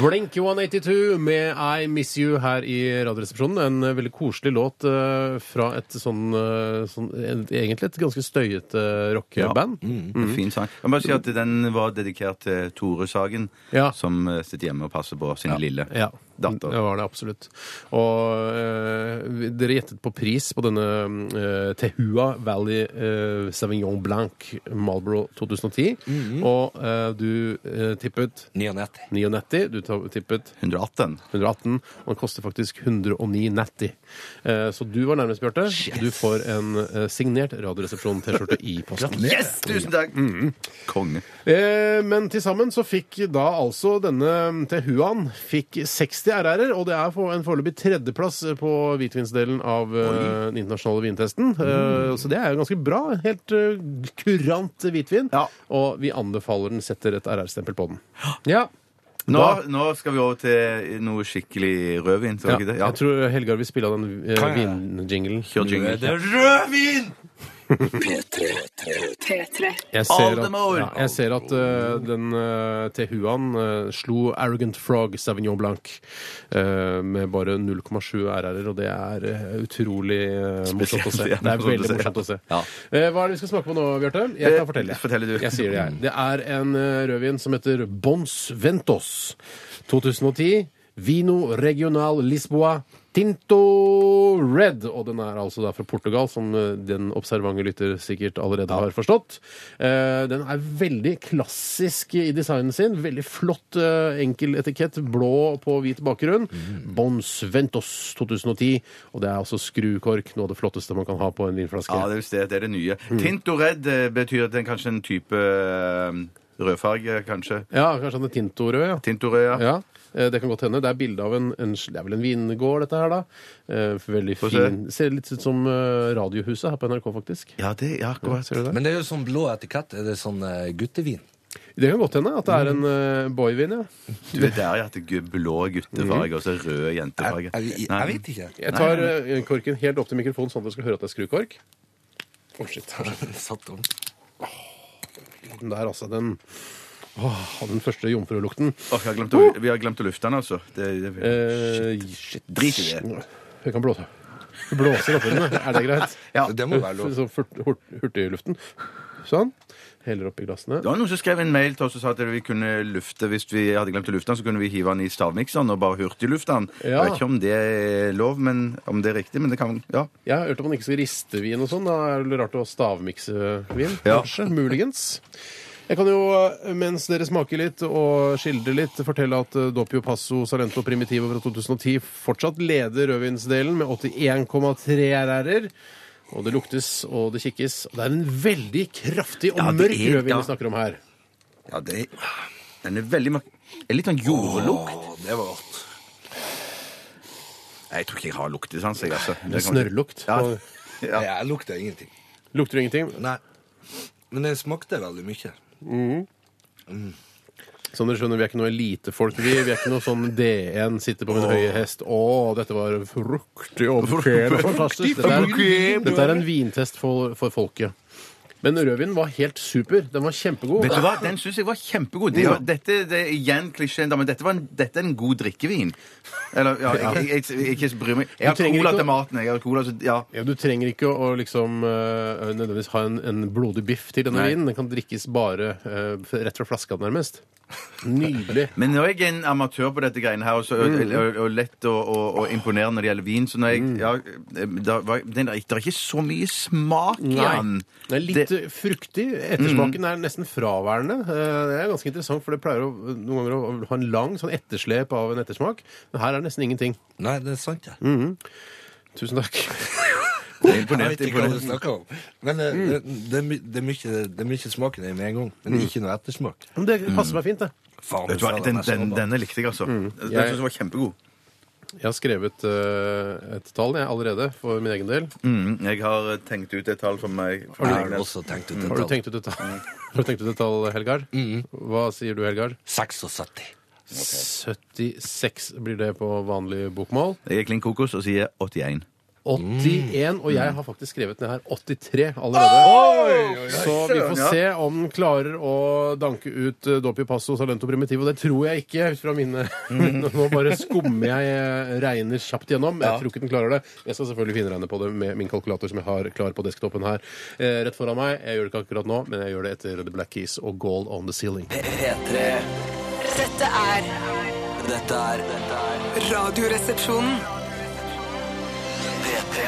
Blink 182 med I Miss You her i Radioresepsjonen. En eh, veldig koselig låt eh, fra et sånn, eh, sånn en- Egentlig et ganske støyete eh, rockeband.
Mm. Fin sang. Jeg må bare si at Den var dedikert til Tore Sagen,
Ja.
som eh, sitter hjemme og passer på sin lille
Ja.
datter.
Det var det absolutt. Og eh, vi- dere gjettet på pris på denne eh, Tehua Valley eh, Savignon Blanc Marlboro 2010. Og eh, du eh, tippet
99.
99, du ta- tippet
118.
118, og den koster faktisk 109,90. Eh, så du var nærmest, Bjarte. Du får en eh, signert Radioresepsjon-T-skjorte i posten.
Yes! Tusen takk! Konge.
Eh, men til sammen så fikk da altså denne Tehuan fikk 60 RR-er, og det er for- en foreløpig tredjeplass på hvitvinsdelen av eh, den internasjonale vintesten. Eh, så det er jo ganske bra. Helt eh, kurant hvitvin.
Ja.
Og vi anbefaler den, setter et RR-stempel på den. Ja.
Nå,
Da-
nå skal vi over til noe skikkelig rødvin. Skal
Ja,
vi ikke det? Ja.
jeg tror Helgar vil spille av den eh,
Kan jeg?
vinjinglen.
Kjør jingle.
Det er rødvin!
P3.
Jeg
All
ser
the
at,
more.
ja, jeg ser at eh, den uh, Tehuan eh, slo Arrogant Frog Savignon Blanc eh, med bare 0,7 RR-er, og det er eh, utrolig eh, morsomt å se.
Spesielt, ja.
Det er
Morsomt å
veldig
se, ja.
morsomt å se.
Ja.
Eh, hva er det vi skal smake på nå, Bjarte? Jeg
Eh,
kan fortelle.
fortell du.
Jeg sier det, jeg. Det er en eh, rødvin som heter Bons Ventos 2010. Vino Regional Lisboa. Tinto Red, og den er altså da fra Portugal, som eh, den observante lytter sikkert allerede har forstått. Eh, Den er veldig klassisk i designen sin. Veldig flott, eh, enkel etikett. Blå på hvit bakgrunn. Bons Ventos 2010. Og det er altså skrukork, noe av det flotteste man kan ha på en vinflaske.
Ja, det er, just det, det er det nye. Tinto Red eh, betyr at den kanskje en type eh, Rødfarge, kanskje.
Ja, kanskje han er tintorød, ja.
Tintorød, ja.
Ja, eh, det kan godt hende. Det er bilde av en, en sl- Det er vel en vingård, dette her, da. Eh, Veldig
Få se.
fin. Ser litt ut som eh, Radiohuset her på NRK, faktisk.
Ja, det, ja, akkurat.
Ser du det?
Men det er jo sånn blå etikett. Er det sånn eh, guttevin?
Det kan godt hende at det er en eh, boyvin, ja.
Du er der jeg har hatt blå guttefarge og så rød
Jeg,
jentefarge.
jeg,
Nei.
jeg vet ikke.
Jeg tar eh, korken helt opp til mikrofonen, sånn at dere skal høre at det er skrukork. Å, shit.
Satt om.
Den der, altså. Den, åh, den første jomfrulukten.
Åh, jeg har glemt å, vi har glemt å lufte den, altså. Det, det,
Eh, shit.
Drit i det.
Jeg kan blåse. Du blåser oppi den, er det greit?
Ja.
Det må være lov.
Så furt- hurt- Hurtigluften. Sånn. Heller oppi glassene.
Det var noen som skrev en mail til oss og sa at vi kunne lufte hvis vi hadde glemt å lufte den, så kunne vi hive den i stavmikseren og bare hurtiglufte den.
Ja.
Jeg vet ikke om det er lov, men om det er riktig, men det kan Ja.
Jeg har hørt at man ikke skal riste vin og sånn. Da er det vel rart å stavmikse vin,
Ja.
kanskje. Muligens. Jeg kan jo, mens dere smaker litt og skildrer litt, fortelle at eh, Doppio Passo Salento Primitivo fra 2010 fortsatt leder rødvinsdelen med 81,3 RR-er. Og det luktes, og det kikkes. Og det er en veldig kraftig og
Ja, det
mørk
er-
rødvin
ja.
vi snakker om her.
ja det er, den er veldig mørk. Det er Litt sånn jordlukt.
Å, det var godt.
Jeg tror ikke jeg har luktesans, jeg, altså.
Det er snørrlukt.
Ja.
Og
Nei, Jeg lukta ingenting.
Lukter ingenting.
Nei. Men den smakte veldig mye.
Som dere skjønner, vi er ikke noe elitefolk. Vi, vi er ikke noe sånn D1 sitter på min høye hest. Å, dette var fruktig og bukert og fantastisk. Dette er, dette er en vintest for, for folket. Men rødvinen var helt super. Den var kjempegod.
Vet du hva? Den syns jeg var kjempegod. Det, var- dette det er igjen klisjeen, da, men dette, var en, dette er en god drikkevin. Eller, ja, jeg, jeg, jeg, jeg, ikke bryr meg. Jeg har
Du trenger
cola
ikke å-
til maten. Jeg har cola, så, ja.
Ja, du trenger ikke å, å liksom eh, nødvendigvis ha en, en blodig biff til denne
Nei.
vinen. Den kan drikkes bare eh, rett fra flaska, nærmest. Nydelig.
Men nå er jeg en amatør på dette greiene her, og, så, og, og, og lett å og, og imponere når det gjelder vin. Så når jeg ja, eh, da, var, den, der- Det er ikke så mye smak i den.
Nei. Det Mm. er litt eh, fruktig. Ettersmaken er nesten fraværende. Eh, Det er ganske interessant, for det pleier å, noen ganger å ha en lang sånn etterslep av en ettersmak. Men her er det nesten ingenting.
Nei, det er sant, det.
Mm.
Tusen takk.
Det er
Jeg
imponert.
vet ikke hva du
imponert.
snakker om. Men eh,
Mm.
det, det, er my- det, er mye, det er mye smak i det med en gang, men ikke noe ettersmak.
Men det passer meg fint, det.
Faen,
Vet du hva,
sa det
den,
mest sånn
den,
om det.
denne likte jeg, altså. Den
Jeg-
synes jeg var kjempegod.
Jeg har skrevet eh, et tall jeg, allerede, for min egen del.
Mm, jeg har tenkt ut et tall for meg.
Jeg har også tenkt ut
Har du
et tall.
tenkt ut et tall, Har du tenkt ut et tall Helgard? Hva sier du, Helgard?
76.
76 blir det på vanlig bokmål.
Jeg er klin kokos og sier 81.
81, og jeg har faktisk skrevet ned her 83 allerede. Så vi får se om den klarer å danke ut eh, Dopi Passo Salento Primitivo. Det tror jeg ikke, ut fra mine Nå bare skummer jeg eh, regner kjapt gjennom. Jeg tror ikke den klarer det. Jeg skal selvfølgelig finregne på det med min kalkulator som jeg har klar på desktopen her eh, rett foran meg. Jeg gjør det ikke akkurat nå, men jeg gjør det etter The Black Keys og Gold on the Ceiling.
P3
Dette er
Dette er dette er
Radioresepsjonen.
P3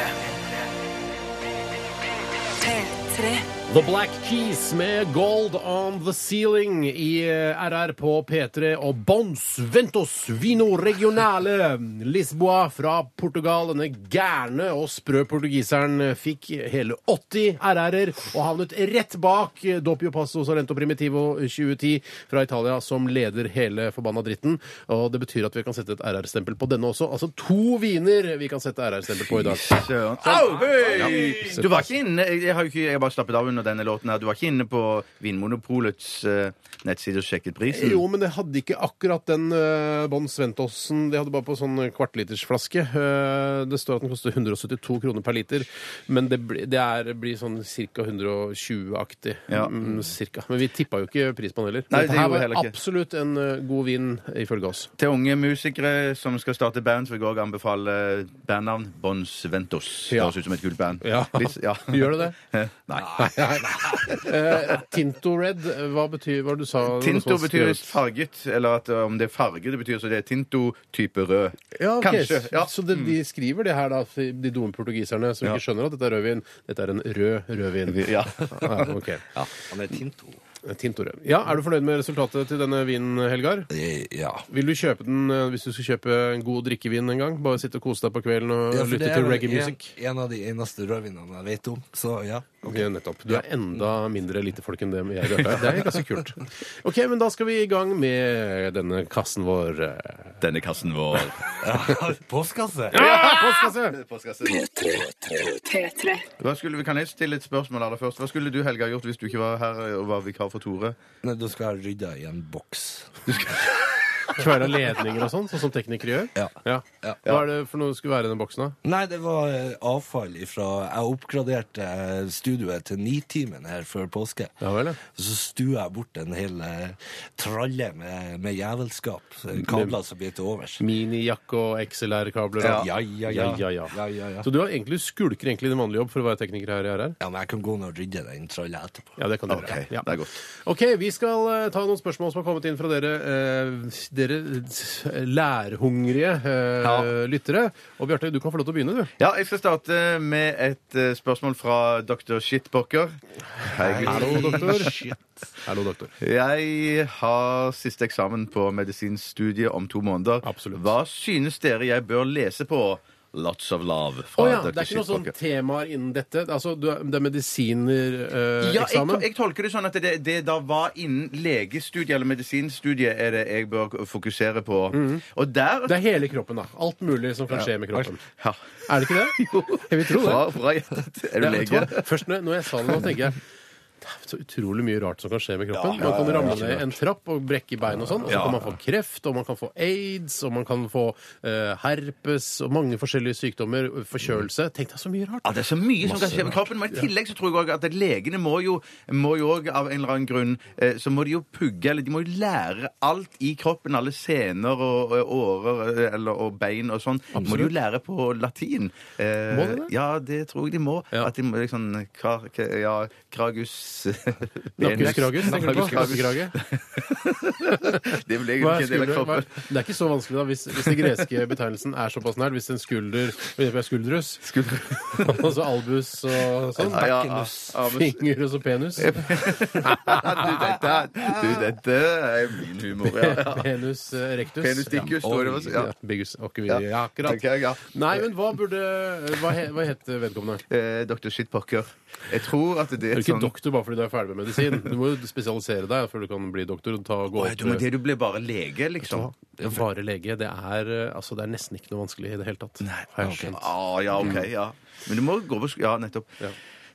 P3.
The Black Keys med Gold on the Ceiling i eh, RR på P3 og Bons Ventos Vino Regionale Lisboa fra Portugal. Denne gærne og sprø portugiseren eh, fikk hele 80 RR-er og havnet rett bak eh, Doppio Passo Salento Primitivo 2010 fra Italia, som leder hele forbanna dritten. Og det betyr at vi kan sette et RR-stempel på denne også. Altså to viner vi kan sette RR-stempel på i dag.
Søren. Au, hei! Du var ikke inne jeg, har jo ikke, jeg har bare slappet av under denne låten her. Du var ikke inne på Vinmonopolets eh, nettside og sjekket prisen?
Jo, men det hadde ikke akkurat den uh, Bon Sventosen. De hadde bare på sånn kvartlitersflaske. Eh, det står at den koster 172 kroner per liter, men det, blir- det er, blir sånn ca. 120-aktig.
Ja.
Mm, cirka. men vi tippa jo ikke pris på den heller.
Nei,
Dette
det
her
gjorde
var
heller ikke.
absolutt en eh, god vin, ifølge oss.
Til unge musikere som skal starte band, så vil jeg også anbefale bandnavn Bons Ventos.
Ja.
Det høres ut som et kult band.
Ja.
Litt- ja.
Gjør det det?
Nei.
Eh, Tinto Red, eh, hva betyr hva du sa? noe
Tinto
sånt
betyr
skrevet?
farget, eller at eh, om det er farge, det betyr så det er tinto type rød.
ja, ok.
Kanskje. Ja.
Så det, de skriver det her, da, de dumme portugiserne som
Ja.
ikke skjønner at dette er rødvin. Dette er en rød rødvin.
Ja.
Ja, ok.
Han er Tinto.
Tintorød. Ja, Er du fornøyd med resultatet til denne vinen, Helgar?
Eh, Ja.
Vil du kjøpe den eh, hvis du skal kjøpe en god drikkevin en gang? Bare sitte og kose deg på kvelden og
Ja, for
lytte
det er
til
vel
reggae-musikk?
En, en av de eneste rødvinene jeg vet om, så ja.
Ok, nettopp. Du er enda mindre lite folk enn det jeg er. Det er ganske kult. Ok, men da skal vi i gang med denne kassen vår.
Denne kassen vår.
Postkasse?
Ja, postkasse!
P3.
Hva skulle, vi- kan jeg stille et spørsmål aller først? Hva skulle du, Helga, gjort hvis du ikke var her eh, og var vikar for Tore?
Nei, da skal jeg rydde i en boks.
Kverna ledninger og sånn, sånn som teknikere gjør.
Ja. Ja.
Hva er det for noe skulle være i den boksen, da?
Nei, det var eh, avfall ifra Jeg oppgraderte eh, studioet til Nitimen her før påske.
Ja vel, ja.
Så stuer jeg bort en hel eh, tralle med, med jævelskap. eh, Kabler som blir til overs.
Minijakke og XLR-kabler og
Ja, ja, ja.
ja, ja.
Ja, ja, ja.
Så du har egentlig skulker egentlig din vanlige jobb for å være tekniker her i RR?
Ja, men jeg kan gå ned og rydde den tralla etterpå.
Ja, det kan du
Ok,
gjøre. Ja.
det er godt.
Ok, vi skal eh, ta noen spørsmål som har kommet inn fra dere, eh, dere eh, lærhungrige eh,
Ja.
lyttere. Og Bjarte, du kan få lov til å begynne, du.
Ja, jeg skal starte med et eh, spørsmål fra dr. Shitpocker. Hei.
Hallo, doktor. Hallo, doktor.
Jeg har siste eksamen på medisinstudiet om to måneder.
Absolutt.
Hva synes dere jeg bør lese på? Lots of love
Å
fra
ja, det
dr.
er ikke noen sånn
Shitpocker.
temaer innen dette? Altså, du er, det er medisinereksamen?
Ja,
Eh,
jeg,
eksamen?
jeg tolker det sånn at det, det da var innen legestudiet eller medisinstudiet er det jeg bør fokusere på. Og der
det er hele kroppen, da. Alt mulig som kan skje med kroppen.
ja.
Er det ikke det? Jo. Jeg vil tro det.
Fra, fra hjertet. Er du
Ja, vet du
lege?
hva? Først når, når jeg sa det nå, tenker jeg det er så utrolig mye rart som kan skje med kroppen. Man kan ramle ned en trapp og brekke bein og sånn, og så kan man få kreft, og man kan få aids, og man kan få eh, herpes og mange forskjellige sykdommer, forkjølelse Tenk deg så mye rart.
Ja, det er så mye som kan skje med kroppen. Men i tillegg så tror jeg også at legene må jo, må jo også av en eller annen grunn eh, Så må de jo pugge, eller de må jo lære alt i kroppen. Alle sener og, og årer eh, eller, og bein og sånn. De Må de jo lære på latin. Eh,
Må de det?
Ja, det tror jeg de må.
Ja.
At de må liksom kra, k- Ja, kragus
Nakkus kragus, tenker du på?
Nakkus kragus.
Nakkekrage.
Det blir
Hva er
egentlig en del av
skulder? Hva
kroppen.
er, det er ikke så vanskelig, da, hvis, hvis den greske betegnelsen er såpass nær. Hvis en skulder for eksempel er skuldrus, og så Altså albus og sånn.
Ja, ja,
Bekkenus.
ja, men-
Finger og så penis.
du, dette, du, dette er min humor, ja.
Penus eh, rectus.
Penus dicus,
Ja.
står det også, ja.
Ja, Bigus. og ikke videre. Ja, akkurat.
Ok, ja.
Nei, men hva burde Hva, he, hva het vedkommende?
Eh, Dr. Shitpocker. Jeg tror at det
Du
er
er
et
ikke
sånn
doktor bare fordi du er ferdig med medisin. Du må jo spesialisere deg før du kan bli doktor. og ta og gå
Å, ja,
opp
du, men det du ble bare lege, liksom?
Bare lege. Det er, eh, altså, det er nesten ikke noe vanskelig i det hele tatt. Har jeg skjønt.
Ah, ja, OK.
Mm.
Ja. Men du må gå på sk- Ja, nettopp.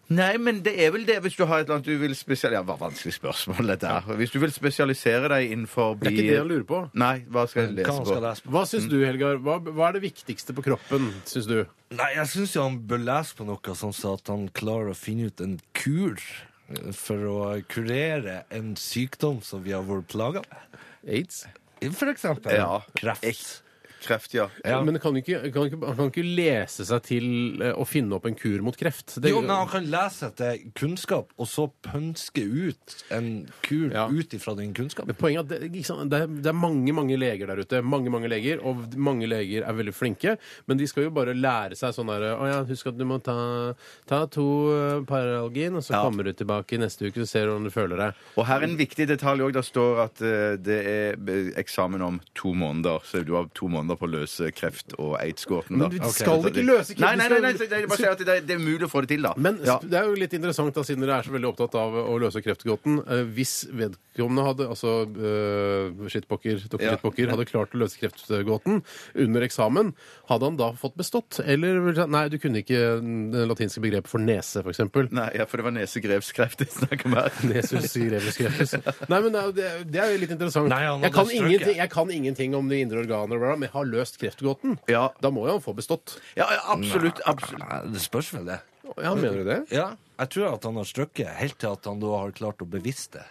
Nei, men det er vel det hvis du har et eller annet du vil spesialisere Ja, det var vanskelig spørsmål, dette her. Hvis du vil spesialisere deg innenfor
Det er ikke det jeg lurer på.
Nei, hva skal jeg
Hva
lese
han
på?
skal lese på?
Hva
Mm.
syns du, Helgar? Hva, hva er det viktigste på kroppen, syns du?
Nei, jeg syns jo han bør lese på noe sånn så at han klarer å finne ut en kur eh, for å kurere en sykdom som vi har vært plaga med.
Aids?
For eksempel
Ja.
kreft.
Kreft, ja.
Ja.
Men kan ikke, kan ikke, han kan ikke lese seg til eh, å finne opp en kur mot kreft. Det-
Jo, men han kan lese etter kunnskap, og så pønske ut en kur
Ja.
ut ifra den kunnskapen.
Men Poenget er at det, ikke sant, det, er, det er mange mange leger der ute, mange, mange leger, og mange leger er veldig flinke, men de skal jo bare lære seg sånn derre Å ja, husk at du må ta, ta to eh, Paralgin, og så
Ja.
kommer du tilbake neste uke og ser hvordan du føler deg.
Og her er en viktig detalj òg. Det står at eh, det er eh, eksamen om to måneder. Så du har to måneder på å løse kreft- og aids-gåten.
Men
da.
du
Ok.
skal ikke løse kreft,
Nei, nei, nei,
du
nei,
skal-
det er bare å si at det er, det er umulig å få det til, da.
Men
ja.
det er jo litt interessant, da, siden dere er så veldig opptatt av å løse kreftgåten. eh, Hvis vedkommende hadde altså uh, shitpokker, doktor
Ja.
shitpokker, hadde klart å løse kreftgåten under eksamen, hadde han da fått bestått? Eller ville du sagt, nei, du kunne ikke mm, det latinske begrepet for nese, for eksempel.
Nei, ja, for det var nesegrevskreft jeg snakker om her.
Nesus cerebrus crepitus. Nei, men det er- det er- det er jo litt interessant.
Nei, han hadde
jeg, kan
strøket.
ingenting, jeg kan ingenting om de indre organer, og bla, bla, men jeg har løst kreftgåten.
Ja.
Da må jo han få bestått.
Ja, ja, absolutt. absolutt.
Nei, det spørs vel, det.
Ja, mener du det?
Ja, jeg tror at han har strøkket helt til at han da har klart å bevise det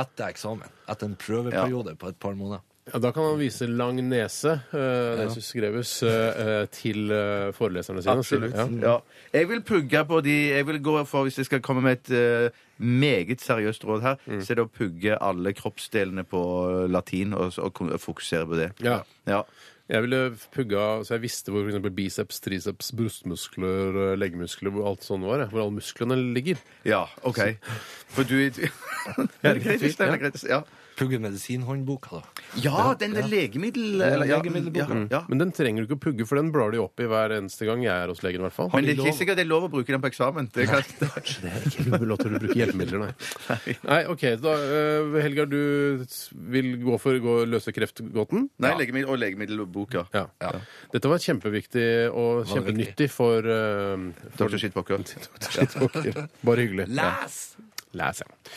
etter eksamen. Etter en prøveperiode på et par måneder.
Ja, da kan han vise lang nese, uh, Nesus Grevus, til eh, foreleserne sine.
Absolutt.
Ja.
Ja. Jeg vil pugge på de Jeg vil gå for, hvis jeg skal komme med et eh, meget seriøst råd her, så er det å pugge alle kroppsdelene på eh, latin og, og kon- fokusere på det.
Ja.
Ja.
Jeg ville pugga så jeg visste hvor for eksempel biceps, triceps, brystmuskler, eh, leggmuskler, hvor alt sånn var. jeg. Hvor alle musklene ligger.
Ja, OK. For du er i tvi- Ja, det er greit, det er greit, ja.
pugge medisinhåndboka, da.
Ja, den der legemiddel... eller- ja,
legemiddelboka.
ja, ja.
Men den trenger du ikke å pugge, for den blar de opp i hver eneste gang jeg er hos legen. i hvert fall.
Men det er ikke sikkert det er lov å bruke den på eksamen. Det kan,
Det er ikke lov til å bruke hjelpemidler, nei. Nei, OK. Da, eh, Helga, du s- vil gå for å gå løse kreftgåten?
nei, legemiddel og legemiddelboka.
Ja. Dette var kjempeviktig og
Var det viktig?
kjempenyttig for, eh, for
Dr. Shitpocker.
Shitpocker. Bare hyggelig.
Les!
Les, ja.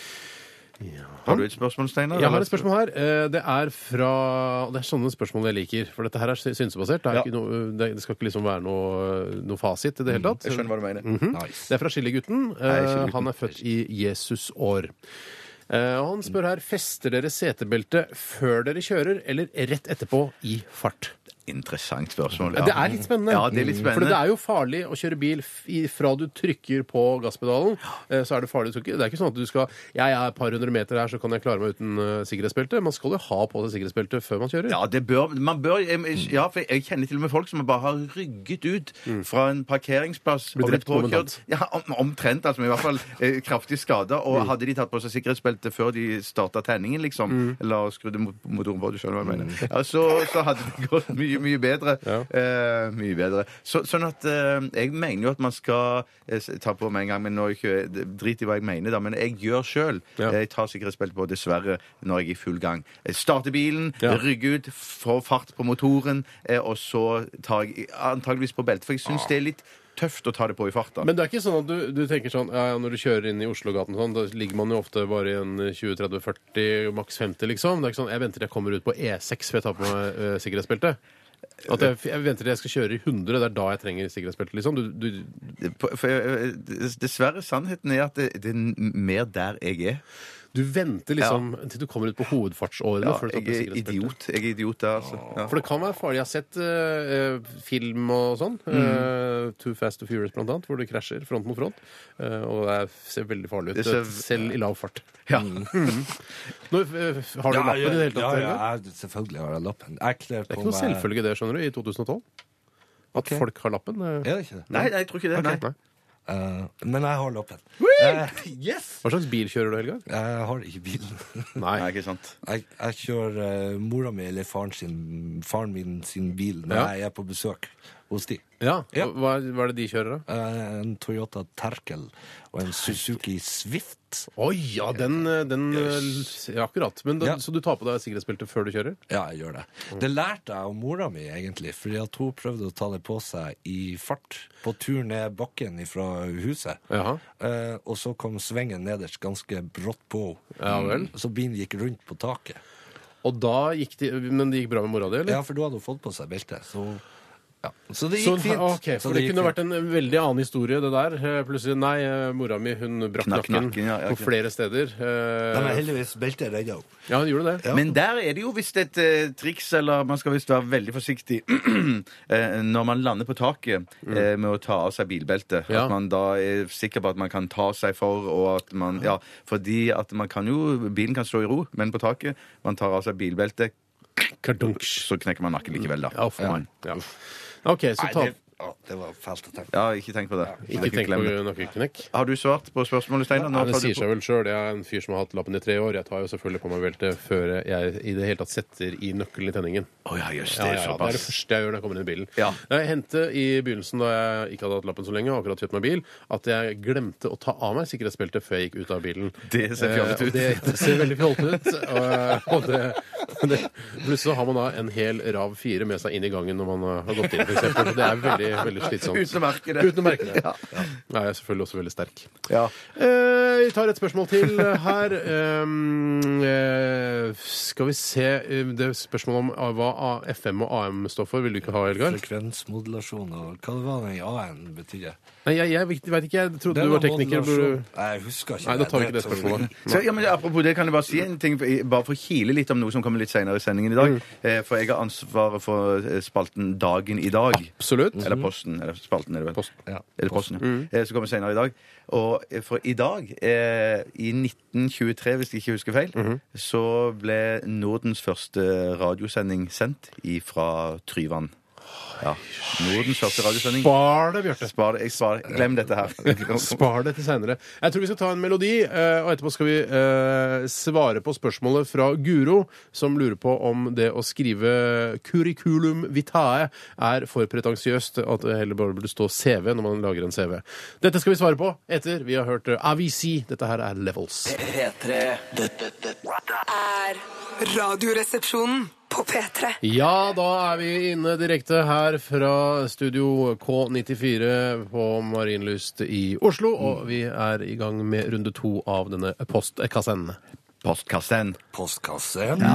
Har du et spørsmål, Steinar?
Jeg har
eller?
et spørsmål her. Eh, Det er fra Det er sånne spørsmål jeg liker. For dette her er sy- synsebasert. Det, er
Ja.
ikke noe, det det skal ikke liksom være noe, noe fasit i det hele tatt.
Jeg skjønner hva du mener.
Mhm.
Nice.
Det er fra Skillegutten. Eh,
Skillegutten.
Han er født i Jesus år. Eh, og Han spør her fester dere setebeltet før dere kjører eller rett etterpå i fart.
Interessant spørsmål.
Det er litt spennende. Mm.
Ja, det er litt
For det
spennende.
er jo farlig å kjøre bil f- i- fra du trykker på gasspedalen. eh, Så er det farlig. å trykke. Det er ikke sånn at du skal Jeg er et par hundre meter her, så kan jeg klare meg uten eh, sikkerhetsbelte. Man skal jo ha på seg sikkerhetsbelte før man kjører.
Ja, det bør, man bør, ja, for jeg kjenner til og med folk som bare har rygget ut fra en parkeringsplass.
Mm. Blitt
og
drept momentant.
Ja, om, omtrent, altså, men i hvert fall eh, kraftig skada. Og
Mm.
hadde de tatt på seg sikkerhetsbelte før de starta tenningen, liksom,
Mm.
eller skrudde mot- motoren på, du skjønner hva jeg mener, ja, så, så hadde det gått mye, mye bedre. Eh, mye bedre. Så, sånn at eh, jeg mener jo at man skal eh, s- ta på med en gang, men nå er ikke drit i hva jeg mener, da, men jeg gjør eh, sjøl.
Ja.
Jeg tar sikkerhetsbelte på, dessverre, når jeg er i full gang. Jeg starter bilen,
Ja.
rygge ut, få fart på motoren, eh, og så tar jeg antageligvis på beltet. For jeg syns det er litt tøft å ta det på i farta.
Ah. Men det er ikke sånn at du, du tenker sånn ja, ja, når du kjører inn i Oslogaten og sånn, da ligger man jo ofte bare i en eh, 20-30-40, maks 50, liksom. Det er ikke sånn jeg venter til jeg kommer ut på E6 før jeg tar på meg eh, sikkerhetsbelte. At jeg, jeg venter til jeg skal kjøre i 100, det er da jeg trenger sikkerhetsbelte, liksom. Du, du,
På- For, eh, dessverre, sannheten er at det, det er n- mer der jeg er.
du venter liksom til du kommer ut på hovedfartsårene
Ja,
før du tar
jeg
på
er
sikkerhetsbelte.
idiot. Jeg er idiot der, altså. Ja.
For det kan være farlig. Jeg har sett eh, eh, film og sånn. eh,
Mm.
Too Fast to Furious, blant annet, hvor det krasjer front mot front. eh, og det er- ser veldig farlig ut,
Det ser-
selv i lav fart.
Ja.
Nå, eh, har du lappen i det hele tatt?
Mm. ja,
Helge?
ja, jeg- selvfølgelig har jeg lappen. Jeg kler på
Det er ikke noe selvfølgelig det, skjønner du, i 2012. At
Ok.
folk har lappen. eh.
Er det ikke det?
Nei, nei, jeg tror ikke det. Nei.
Eh, men jeg har lappen. Eh, yes!
Hva slags bil kjører du, Helgar?
Jeg har ikke bilen.
Nei, ikke sant.
Jeg, jeg kjører eh, mora mi eller faren, sin, faren min sin bil når
Ja.
jeg er på besøk hos de.
Ja.
Ja.
Hva, hva er det de kjører, da?
Eh, en Toyota Terkel og en Suzuki Swift.
Å ja, den, eh, den eh, ja, Akkurat. Men da,
Ja.
Så du tar på deg sikkerhetsbeltet før du kjører?
Ja, jeg gjør det.
Mm.
Det lærte jeg av mora mi, egentlig, fordi at hun prøvde å ta det på seg i fart på tur ned bakken fra huset.
Jaha.
Eh, og så kom svingen nederst ganske brått på
Ja vel.
Så bilen gikk rundt på taket.
Og da gikk de, Men det gikk bra med mora di, eller?
Ja, for da hadde hun fått på seg belte. Så, ja. så det
Så,
gikk fint.
ok,
Så
for det,
gikk
kunne
fint.
vært en veldig annen historie, det der. Eh, Plutselig Nei, eh, mora mi hun brakk
Knakk
nakken
nakken, ja, ja,
på
ok.
flere steder. Eh,
Nei, men heldigvis beltet redda henne.
Ja, hun gjorde det.
Men der er det jo visst et eh, triks, eller man skal visst være veldig forsiktig eh, når man lander på taket eh, med å ta av seg bilbeltet.
Mm. Ja.
At man da er sikker på at man kan ta seg for, og at man Ja, fordi at man kan jo Bilen kan stå i ro, men på taket Man tar av seg bilbeltet,
Kardunks.
så knekker man nakken likevel, da.
Ja, for meg. Ja. OK, så
Nei,
ta
det, ja, det var fælt å tenke.
Ja, ikke tenk på det.
Ikke tenk
glem det.
på nakkeknekk.
Har du svart på spørsmålet, Steinar? Nå
Nei, det
tar du
sier
på-
seg vel sjøl. Jeg er en fyr som har hatt lappen i tre år. Jeg tar jo selvfølgelig på meg belte før jeg i det hele tatt setter i nøkkelen i tenningen.
Å ja, jøss,
Ja,
det
ja, det er
er
det
såpass.
første jeg gjør når jeg kommer inn i bilen.
Ja.
Jeg hendte i begynnelsen, da jeg ikke hadde hatt lappen så lenge, og akkurat kjøpt meg bil, at jeg glemte å ta av meg sikkerhetsbeltet før jeg gikk ut av bilen.
Det ser
Eh,
fjollete
og
ut.
Det, det ser veldig fjollete ut. Og, og det, det, plutselig så har man da en hel Rav 4 med seg inn i gangen når man eh, har gått inn, f.eks. Det er veldig, veldig slitsomt.
Uten å merke det.
Uten å merke det. Ja. Nei, jeg er selvfølgelig også veldig sterk.
Ja.
Eh, Vi tar et spørsmål til eh, her. Um, eh, skal vi se eh, Det er spørsmålet om ah, hva A- FM og AM står for, vil du ikke ha, Elgar?
Frekvensmodulasjon og hva det var den A-en betydde.
Nei, jeg, jeg vet- vet ikke. Jeg trodde du var tekniker. burde-
modulasjon. Nei, jeg husker ikke
Nei, da tar vi ikke det
tror jeg
spørsmålet.
Så, ja, men apropos det, kan jeg bare si en ting, for- bare for å kile litt om noe som kommer litt senere i sendingen i dag. Eh, For jeg har ansvaret for eh, spalten Dagen i dag.
Absolutt.
Eller Posten. Eller spalten, er det vel.
Posten.
Ja,
Er det posten, ja. Eh, Som kommer senere i dag. Og eh, for i dag, eh, i 1923, hvis jeg ikke husker feil, så ble Nordens første radiosending sendt fra Tryvann. Ja. Nordens første radiosending.
Spar det, Bjarte.
Spar det. Jeg svarer. Glem dette her.
Spar det til seinere. Jeg tror vi skal ta en melodi, eh, og etterpå skal vi eh, svare på spørsmålet fra Guro, som lurer på om det å skrive curriculum vitae er for pretensiøst, at det heller bare burde stå CV når man lager en CV. Dette skal vi svare på etter vi har hørt eh, AVC. Dette her er Levels.
P3 Dette, dette
er Radioresepsjonen på P3.
Ja, da er vi inne direkte her fra studio K94 på Marienlyst i Oslo. Og vi er i gang med runde to av denne postkassen.
Postkassen.
Postkassen.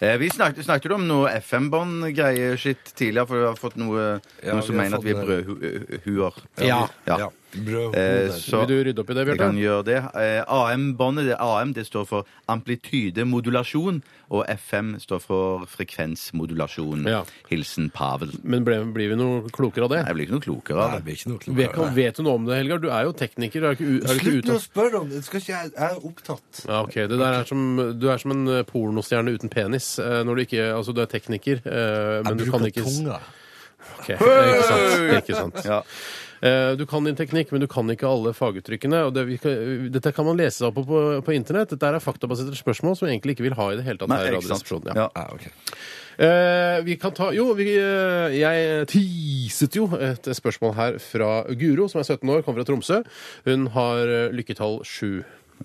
Eh, Vi snakket, snakket du om noe FM-bånd-greie-shit tidligere, for vi har fått noe,
Ja,
noen som
vi har
mener at vi eh, er
fått
brødhuer.
Ja.
Ja.
Eh,
Brødhoder.
så
Vil du rydde opp i det,
jeg
Bjarte?
kan gjøre det. Eh, AM-båndet det, AM, det står for amplitydemodulasjon, og FM står for frekvensmodulasjon.
Ja.
Hilsen Pavel.
Men ble, blir vi noe klokere av det?
Jeg blir ikke noe klokere av
Nei,
det.
det blir ikke noe
Vet,
klokere.
vet du noe om det, Helgar? Du er jo tekniker. Er du ikke, u- er du ikke
Slutt nå å
utdannet?
spørre om det! Skal ikke jeg, jeg er opptatt.
Ja, ok. Det der er som, du er som en eh, pornostjerne uten penis. eh, Når du ikke Altså, du er tekniker, eh, men du kan ikke s- Ok, Ikke sant. Ikke sant.
Ja.
Eh, Du kan din teknikk, men du kan ikke alle faguttrykkene. Og det, vi kan, dette kan man lese seg opp på, på, på internett. Dette er faktabaserte spørsmål som vi egentlig ikke vil ha i det hele tatt.
Nei,
her i
ikke sant.
Radioresepsjonen,
Ja.
Ja, ok.
Eh, vi kan ta Jo, vi, eh, jeg teaset jo et spørsmål her fra Guro, som er 17 år, kommer fra Tromsø. Hun har eh, lykketall 7.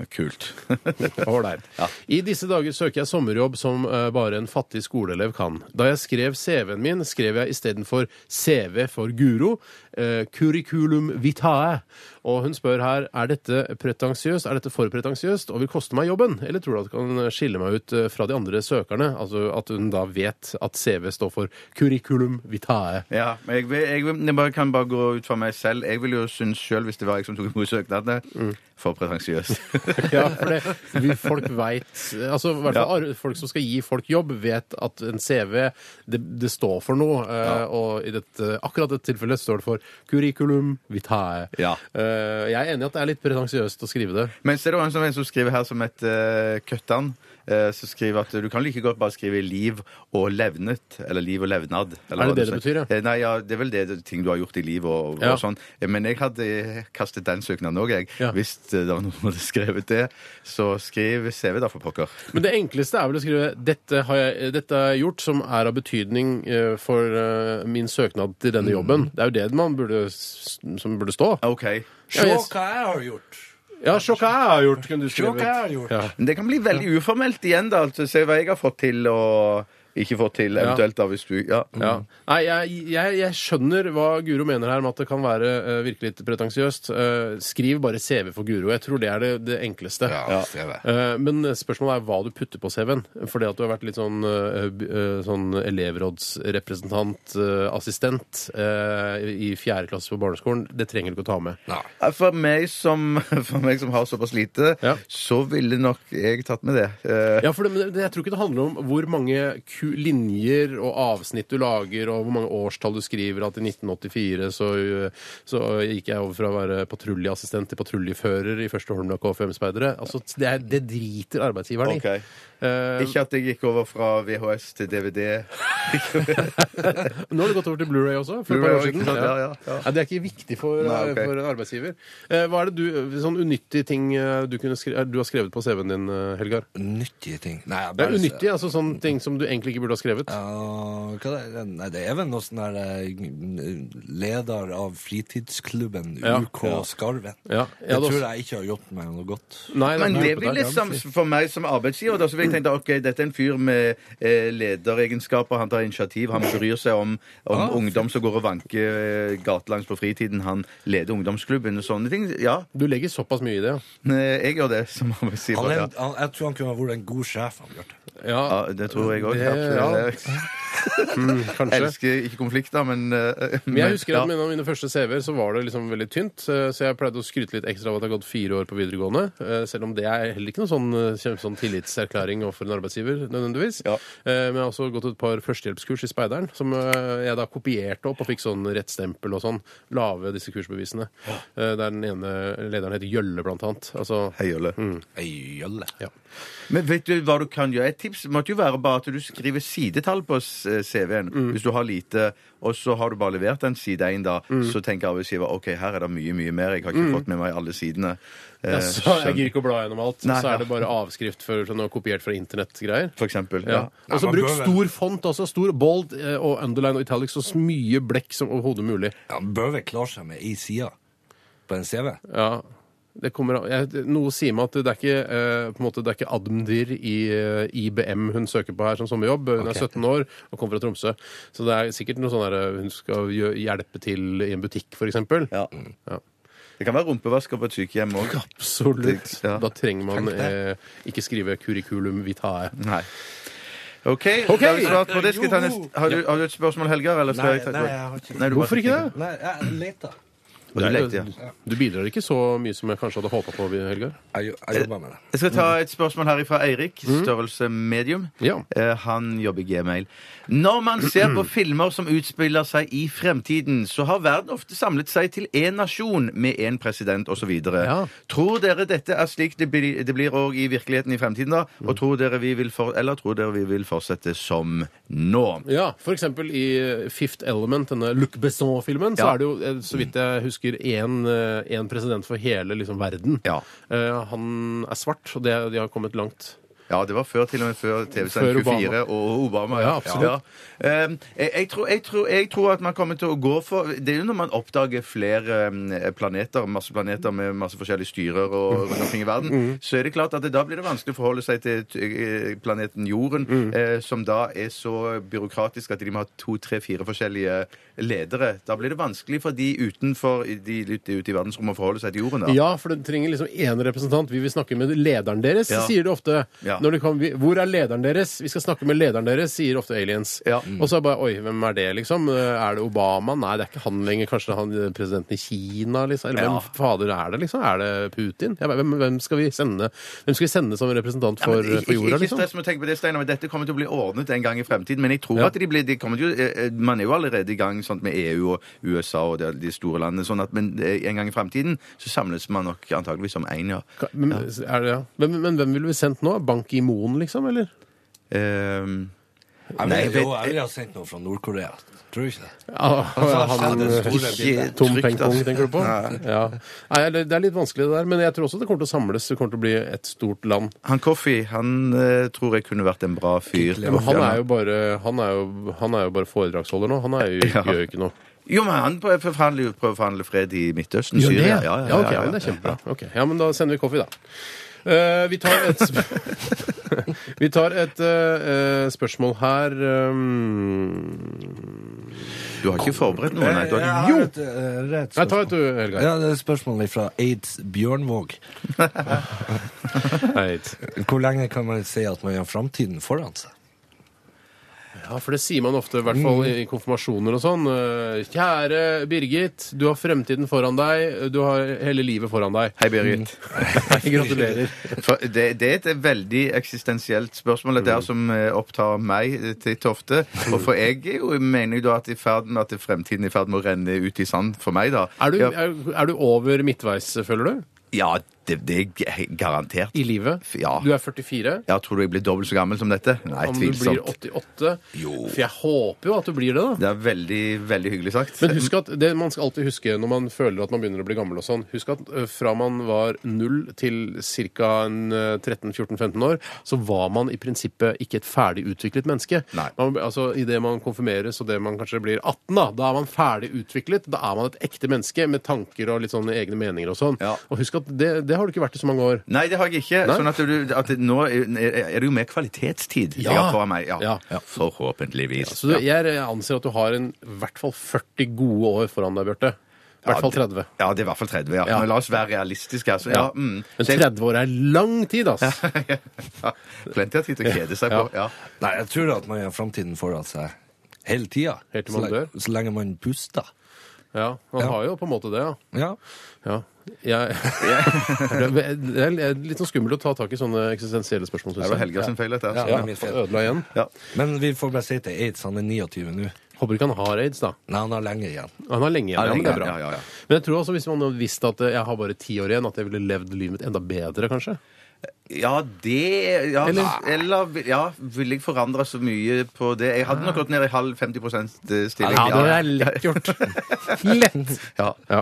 Kult.
Ålreit. I disse dager søker jeg sommerjobb som eh, bare en fattig skoleelev kan. Da jeg skrev CV-en min, skrev jeg istedenfor CV for Guro, eh, curriculum vitae. Og hun spør her er dette pretensiøst, er dette for pretensiøst og vil koste meg jobben, eller tror du at det kan skille meg ut eh, fra de andre søkerne? Altså at hun da vet at CV står for curriculum vitae.
Ja, men jeg, vil, jeg, vil, jeg bare, kan bare gå ut fra meg selv. Jeg ville jo synes selv, hvis det var jeg som tok imot søknadene,
Mm.
for pretensiøst.
Ja, for det, vi, folk vet, altså i hvert fall ar- folk som skal gi folk jobb, vet at en CV, det, det står for noe, eh, og i dette, akkurat dette tilfellet står det for curriculum vitae.
Ja.
Eh, jeg er enig i at det er litt pretensiøst å skrive det.
Men så er det også en som- en som skriver her som et uh, køttan, eh, som skriver at du kan like godt bare skrive 'liv og levnet', eller 'liv og levnad'. Eller
Er det
hva
det det
du sier.
betyr, ja?
Eh, Nei, ja, det er vel det, det ting du har gjort i livet og,
Ja.
og sånn. Eh, Men jeg hadde kastet den søknaden òg, jeg.
Ja.
Hvis eh, det var noen som hadde skrevet det. Så skriv CV, da, for pokker.
Men det enkleste er vel å skrive 'dette har jeg, dette har jeg gjort som er av betydning eh, for eh, min søknad til denne jobben'. Det er jo det man burde, s- som burde stå.
OK.
Se
yes.
hva jeg har gjort!
Ja, se hva jeg har gjort, kunne du
Se hva jeg har gjort!
Ja.
Men det kan bli veldig uformelt igjen, da. Altså, se hva jeg har fått til, og ikke fått til, eventuelt, da, hvis du Ja. Mm.
Ja. Nei, jeg, jeg, jeg skjønner hva Guro mener her med at det kan være eh, virkelig litt pretensiøst. Eh, skriv bare CV for Guro. Jeg tror det er det, det enkleste.
Ja, CV.
Eh, men spørsmålet er hva du putter på CV-en. For det at du har vært litt sånn, eh, b- eh, sånn elevrådsrepresentant, eh, assistent, eh, i i fjerde klasse på barneskolen, det trenger du ikke å ta med.
Nei.
Ja, For meg som, for meg som har såpass lite,
Ja.
så ville nok jeg tatt med det. Eh,
Ja, for det, men det, jeg tror ikke det handler om hvor mange ku linjer og avsnitt du lager, og hvor mange årstall du skriver. At i 1984 så, uh, så uh, gikk jeg over fra å være patruljeassistent til patruljefører i første Holmlia KFM-speidere. Altså, det, er, det driter arbeidsgiveren
Ok.
i. Eh,
Ikke at jeg gikk over fra VHS til DVD.
nå har du gått over til Blu-ray også. For et
Blu-ray
par år
også,
siden.
ikke sant? Ja, ja, ja.
Nei, det er ikke viktig for,
Nei, ok.
for en arbeidsgiver. Eh, hva er det du, sånn unyttige ting eh, du, kunne skre, du har skrevet på CV-en din, eh, Helgar?
Nyttige ting. Nei, jeg
Det er
bare
unyttig, altså sånne ting som du egentlig ikke burde ha skrevet.
Ja, hva det er? Nei, det er vel noe sånn der eh, leder av fritidsklubben
Ja.
UK Skarven.
Ja.
Det
Ja, det-
tror jeg ikke har gjort meg noe godt.
Nei,
Men
nei,
det liksom
nei.
ville som, for meg som arbeidsgiver da, så ville jeg tenkt ok, dette er en fyr med eh, lederegenskaper, han tar initiativ, han bryr seg om, om
Ah,
ungdom som går og vanker eh, gatelangs på fritiden, han leder ungdomsklubben og sånne ting. Ja,
Du legger såpass mye i det, ja.
eh, jeg gjør det som arbeidsgiver.
Han er,
ja.
han, jeg tror han kunne ha vært en god sjef. Han, Bjarte.
Ja, det tror jeg òg.
Det- ja.
Jeg
kanskje.
elsker ikke konflikter, men eh,
Men
men-
jeg husker at med en av mine første CV-er så var det liksom veldig tynt, eh, så jeg pleide å skryte litt ekstra av at jeg har gått fire år på videregående, eh, selv om det er heller ikke noen sånn, eh, kjempe- sånn tillitserklæring overfor en arbeidsgiver, nødvendigvis.
Ja.
Eh, Men jeg har også gått et par førstehjelpskurs i Speideren, som eh, jeg da kopierte opp og fikk sånn rett stempel og sånn, lave disse kursbevisene. Eh, Der den ene lederen heter Gjølle, blant annet. Altså,
Hei, Jølle.
Ei jølle.
ja.
Men vet du hva du kan gjøre? Et tips måtte jo være bare at du skriver sidetall på s- eh, CV-en. Hvis du har lite, og så har du bare levert den side 1, da, så tenker arbeidsgiver ok, her er det mye, mye mer. Jeg har ikke fått med meg alle sidene. Eh,
Ja, så jeg
skjønn-
gidder ikke å bla gjennom alt.
Nei,
så er det
ja.
bare avskrift for, sånn, og kopiert fra internettgreier.
For eksempel.
Ja.
Ja.
Og så
man
bruk
bør vel-
stor font også. Stor bold eh, og underline og italics og så mye blekk som overhodet mulig.
Ja, man bør vel klare seg med ei side på en CV.
Ja. Det kommer, av- jeg, noe sier meg at det er ikke, eh, på en måte, det er ikke admdir i eh, IBM hun søker på her som sommerjobb. Hun er 17 år og kommer fra Tromsø. Så det er sikkert noe sånn der eh, hun skal gjø- hjelpe til i en butikk, f.eks.
Ja. Det kan være rumpevasker på et sykehjem òg.
Absolutt.
Ja.
Da trenger man eh, ikke skrive 'curriculum vitae'.
Nei. OK. Da har, vi svart på det. Skal jeg ta neste- har, du, har du et spørsmål, Helgar? Eller skal
Nei,
jeg ta...
nei, jeg har ikke-
Nei, du bare
Hvorfor ikke
tenker.
det?
Nei, jeg leter.
Og Du lekte, ja.
Du bidrar ikke så mye som jeg kanskje hadde håpa på, Helgar.
Jeg, jo- jeg jobber med det.
Jeg skal ta et spørsmål her fra Eirik, størrelse medium.
Mm. Ja.
Eh, han jobber i Gmail. Når man ser på filmer som utspiller seg i fremtiden, så har verden ofte samlet seg til én nasjon med én president osv.
Ja.
Tror dere dette er slik det blir, det blir òg i virkeligheten i fremtiden, da?
Mm.
Og tror dere vi vil for, eller tror dere vi vil fortsette som nå?
Ja, for eksempel i eh, Fifth Element, denne Luc Besson-filmen, så
Ja.
er det jo, eh, så vidt jeg husker, én eh, én president for hele liksom, verden.
Ja.
Eh, han er svart, og det, de har kommet langt.
Ja, det var før til og med før
Før
TV-sending
Obama.
24 og Obama.
Ja, absolutt.
Ja. Um, Jeg, jeg, tror, jeg, tror, jeg tror at man kommer til å gå for Det er jo når man oppdager flere um, planeter, masse planeter med masse forskjellige styrer
Mm.
og rundt omkring i verden, så er det klart at det, da blir det vanskelig å forholde seg til eh, planeten Jorden,
Mm.
eh, som da er så byråkratisk at de må ha to, tre, fire forskjellige ledere. Da blir det vanskelig for de utenfor de ute ute i verdensrommet å forholde seg til jorden. Da.
Ja, for det trenger liksom én representant. Vi vil snakke med lederen deres,
Ja.
sier de ofte.
Ja.
Når de kan, vi- hvor er lederen deres? Vi skal snakke med lederen deres, sier ofte aliens.
Ja.
Og så er det bare Oi, hvem er det, liksom? Er det Obama? Nei, det er ikke han lenger. Kanskje det er han eh, presidenten i Kina, liksom? Eller
Ja.
hvem fader er det, liksom? Er det Putin? Ja, hvem, hvem, skal vi sende, hvem skal vi sende som representant for,
Ja, men ikke-
for jorda,
Ikke
liksom?
stress med å tenke på det, Steinar, men dette kommer til å bli ordnet en gang i fremtiden. Men jeg tror
Ja.
at de blir, de kommer til, å- eh, eh, man er jo allerede i gang sånn, med EU og USA og de, de store landene, sånn at, men eh, en gang i fremtiden så samles man nok antageligvis som én, ja.
Ka- Men, er det, ja. men, men hvem ville vi sendt nå? Bank i Moen, liksom? Eller?
Ehm,
Jeg
Nei,
vil,
vet-
jo, jeg vil ha sendt noe fra Nord-Korea. Tror du ikke det?
han,
det
eh,
store bildet.
ikke
Tom
trygt,
Peng Pong,
altså.
tenker du på? Ja. Nei, det det er litt vanskelig det der, men jeg tror også det kommer til å samles. Det kommer til å bli et stort land.
Han Coffey, han eh, tror jeg kunne vært en bra fyr.
Men han er jo bare, han er jo, han er jo bare foredragsholder nå. Han er jo,
Ja.
gjør jo ikke noe.
Jo, men han prøver forhandler jo- prøver å forhandle fred i Midtøsten.
Gjør det?
Syria.
Ja,
Ja, ja, ja,
ok,
ja,
men det er
ja.
kjempebra. Ok, Ja, men da sender vi kaffe, da. Eh, vi tar et, sp- vi tar et eh, eh, spørsmål her ehm, um...
Du har ikke forberedt noe? Nei, du har ikke...
Jeg har et, eh,
Nei,
rett
ta
spørsmål.
et du, Helgar.
Ja, det er et spørsmål fra Aids Bjørnvåg.
Nei, et-
Hvor lenge kan man si at man har framtiden foran seg?
Ja, for det sier man ofte, i hvert fall i i konfirmasjoner og sånn. Eh, Kjære Birgit, du har fremtiden foran deg. Du har hele livet foran deg.
Hei, Birgit.
Gratulerer.
For det, det er et veldig eksistensielt spørsmål, det
Mm.
der som eh, opptar meg eh, til Tofte. Og for jeg er jo, mener jo da at, i ferd med at fremtiden er i ferd med å renne ut i sand for meg, da.
Er du,
ja,
er, er du over midtveis, føler du?
ja det, det er g- garantert.
I livet?
Ja.
Du er 44.
Ja, tror du jeg blir dobbelt så gammel som dette? Nei,
Om du blir
tvilsomt.
88.
Jo.
For jeg håper jo at du blir det, da.
Det er veldig, veldig hyggelig sagt.
Men husk at det man skal alltid huske når man føler at man begynner å bli gammel og sånn Husk at eh, fra man var null til ca. 13-14-15 år, så var man i prinsippet ikke et ferdig utviklet menneske.
Nei.
Man, altså, Idet man konfirmeres og det man kanskje blir 18, da, da er man ferdig utviklet. Da er man et ekte menneske med tanker og litt sånne egne meninger og sånn.
Ja.
Og husk at det, det har du ikke vært i så mange år.
Nei, det har jeg ikke.
Nei?
Sånn at du, at det, nå er er det jo mer kvalitetstid jeg
Ja.
har foran meg. Ja.
Ja. Ja.
Forhåpentligvis.
Så du, jeg anser at du har en, i hvert fall 40 gode år foran deg, Bjarte. I hvert fall 30.
Ja, det er i hvert fall 30. Ja.
Ja.
Men la oss være realistiske. Altså. Ja, mm.
Men
Så jeg-
30 år er lang tid, ass.
Plenty av tid til å kjede seg på. Ja.
Nei, jeg tror at man har framtiden foran seg hele tida.
Helt til man
så, lenge-
dør.
så lenge man puster.
Ja, man
Ja.
har jo på en måte det, ja.
Ja.
ja. Jeg, det er- det er litt sånn skummelt å ta tak i sånne eksistensielle spørsmål.
Det
Synes
var
jeg.
Helga sin feil, dette.
Ja,
Altså.
det
Ja.
er min
Han
feil.
Ødela igjen.
Men vi får bare si til Aids, han er 29 nå.
Håper ikke han har aids, da.
Nei, han har lenge igjen.
Han har lenge igjen, ja, men altså, det er bra.
Ja, ja, ja.
Men jeg tror også hvis man hadde visst at eh, jeg har bare ti år igjen, at jeg ville levd livet mitt enda bedre, kanskje.
Ja, det ja,
Eller-
eller, vil- ja, ville jeg forandra så mye på det? Jeg hadde nok gått ned i halv 50 stilling.
Ja, det er lett gjort. Lett.
Ja.
Ja.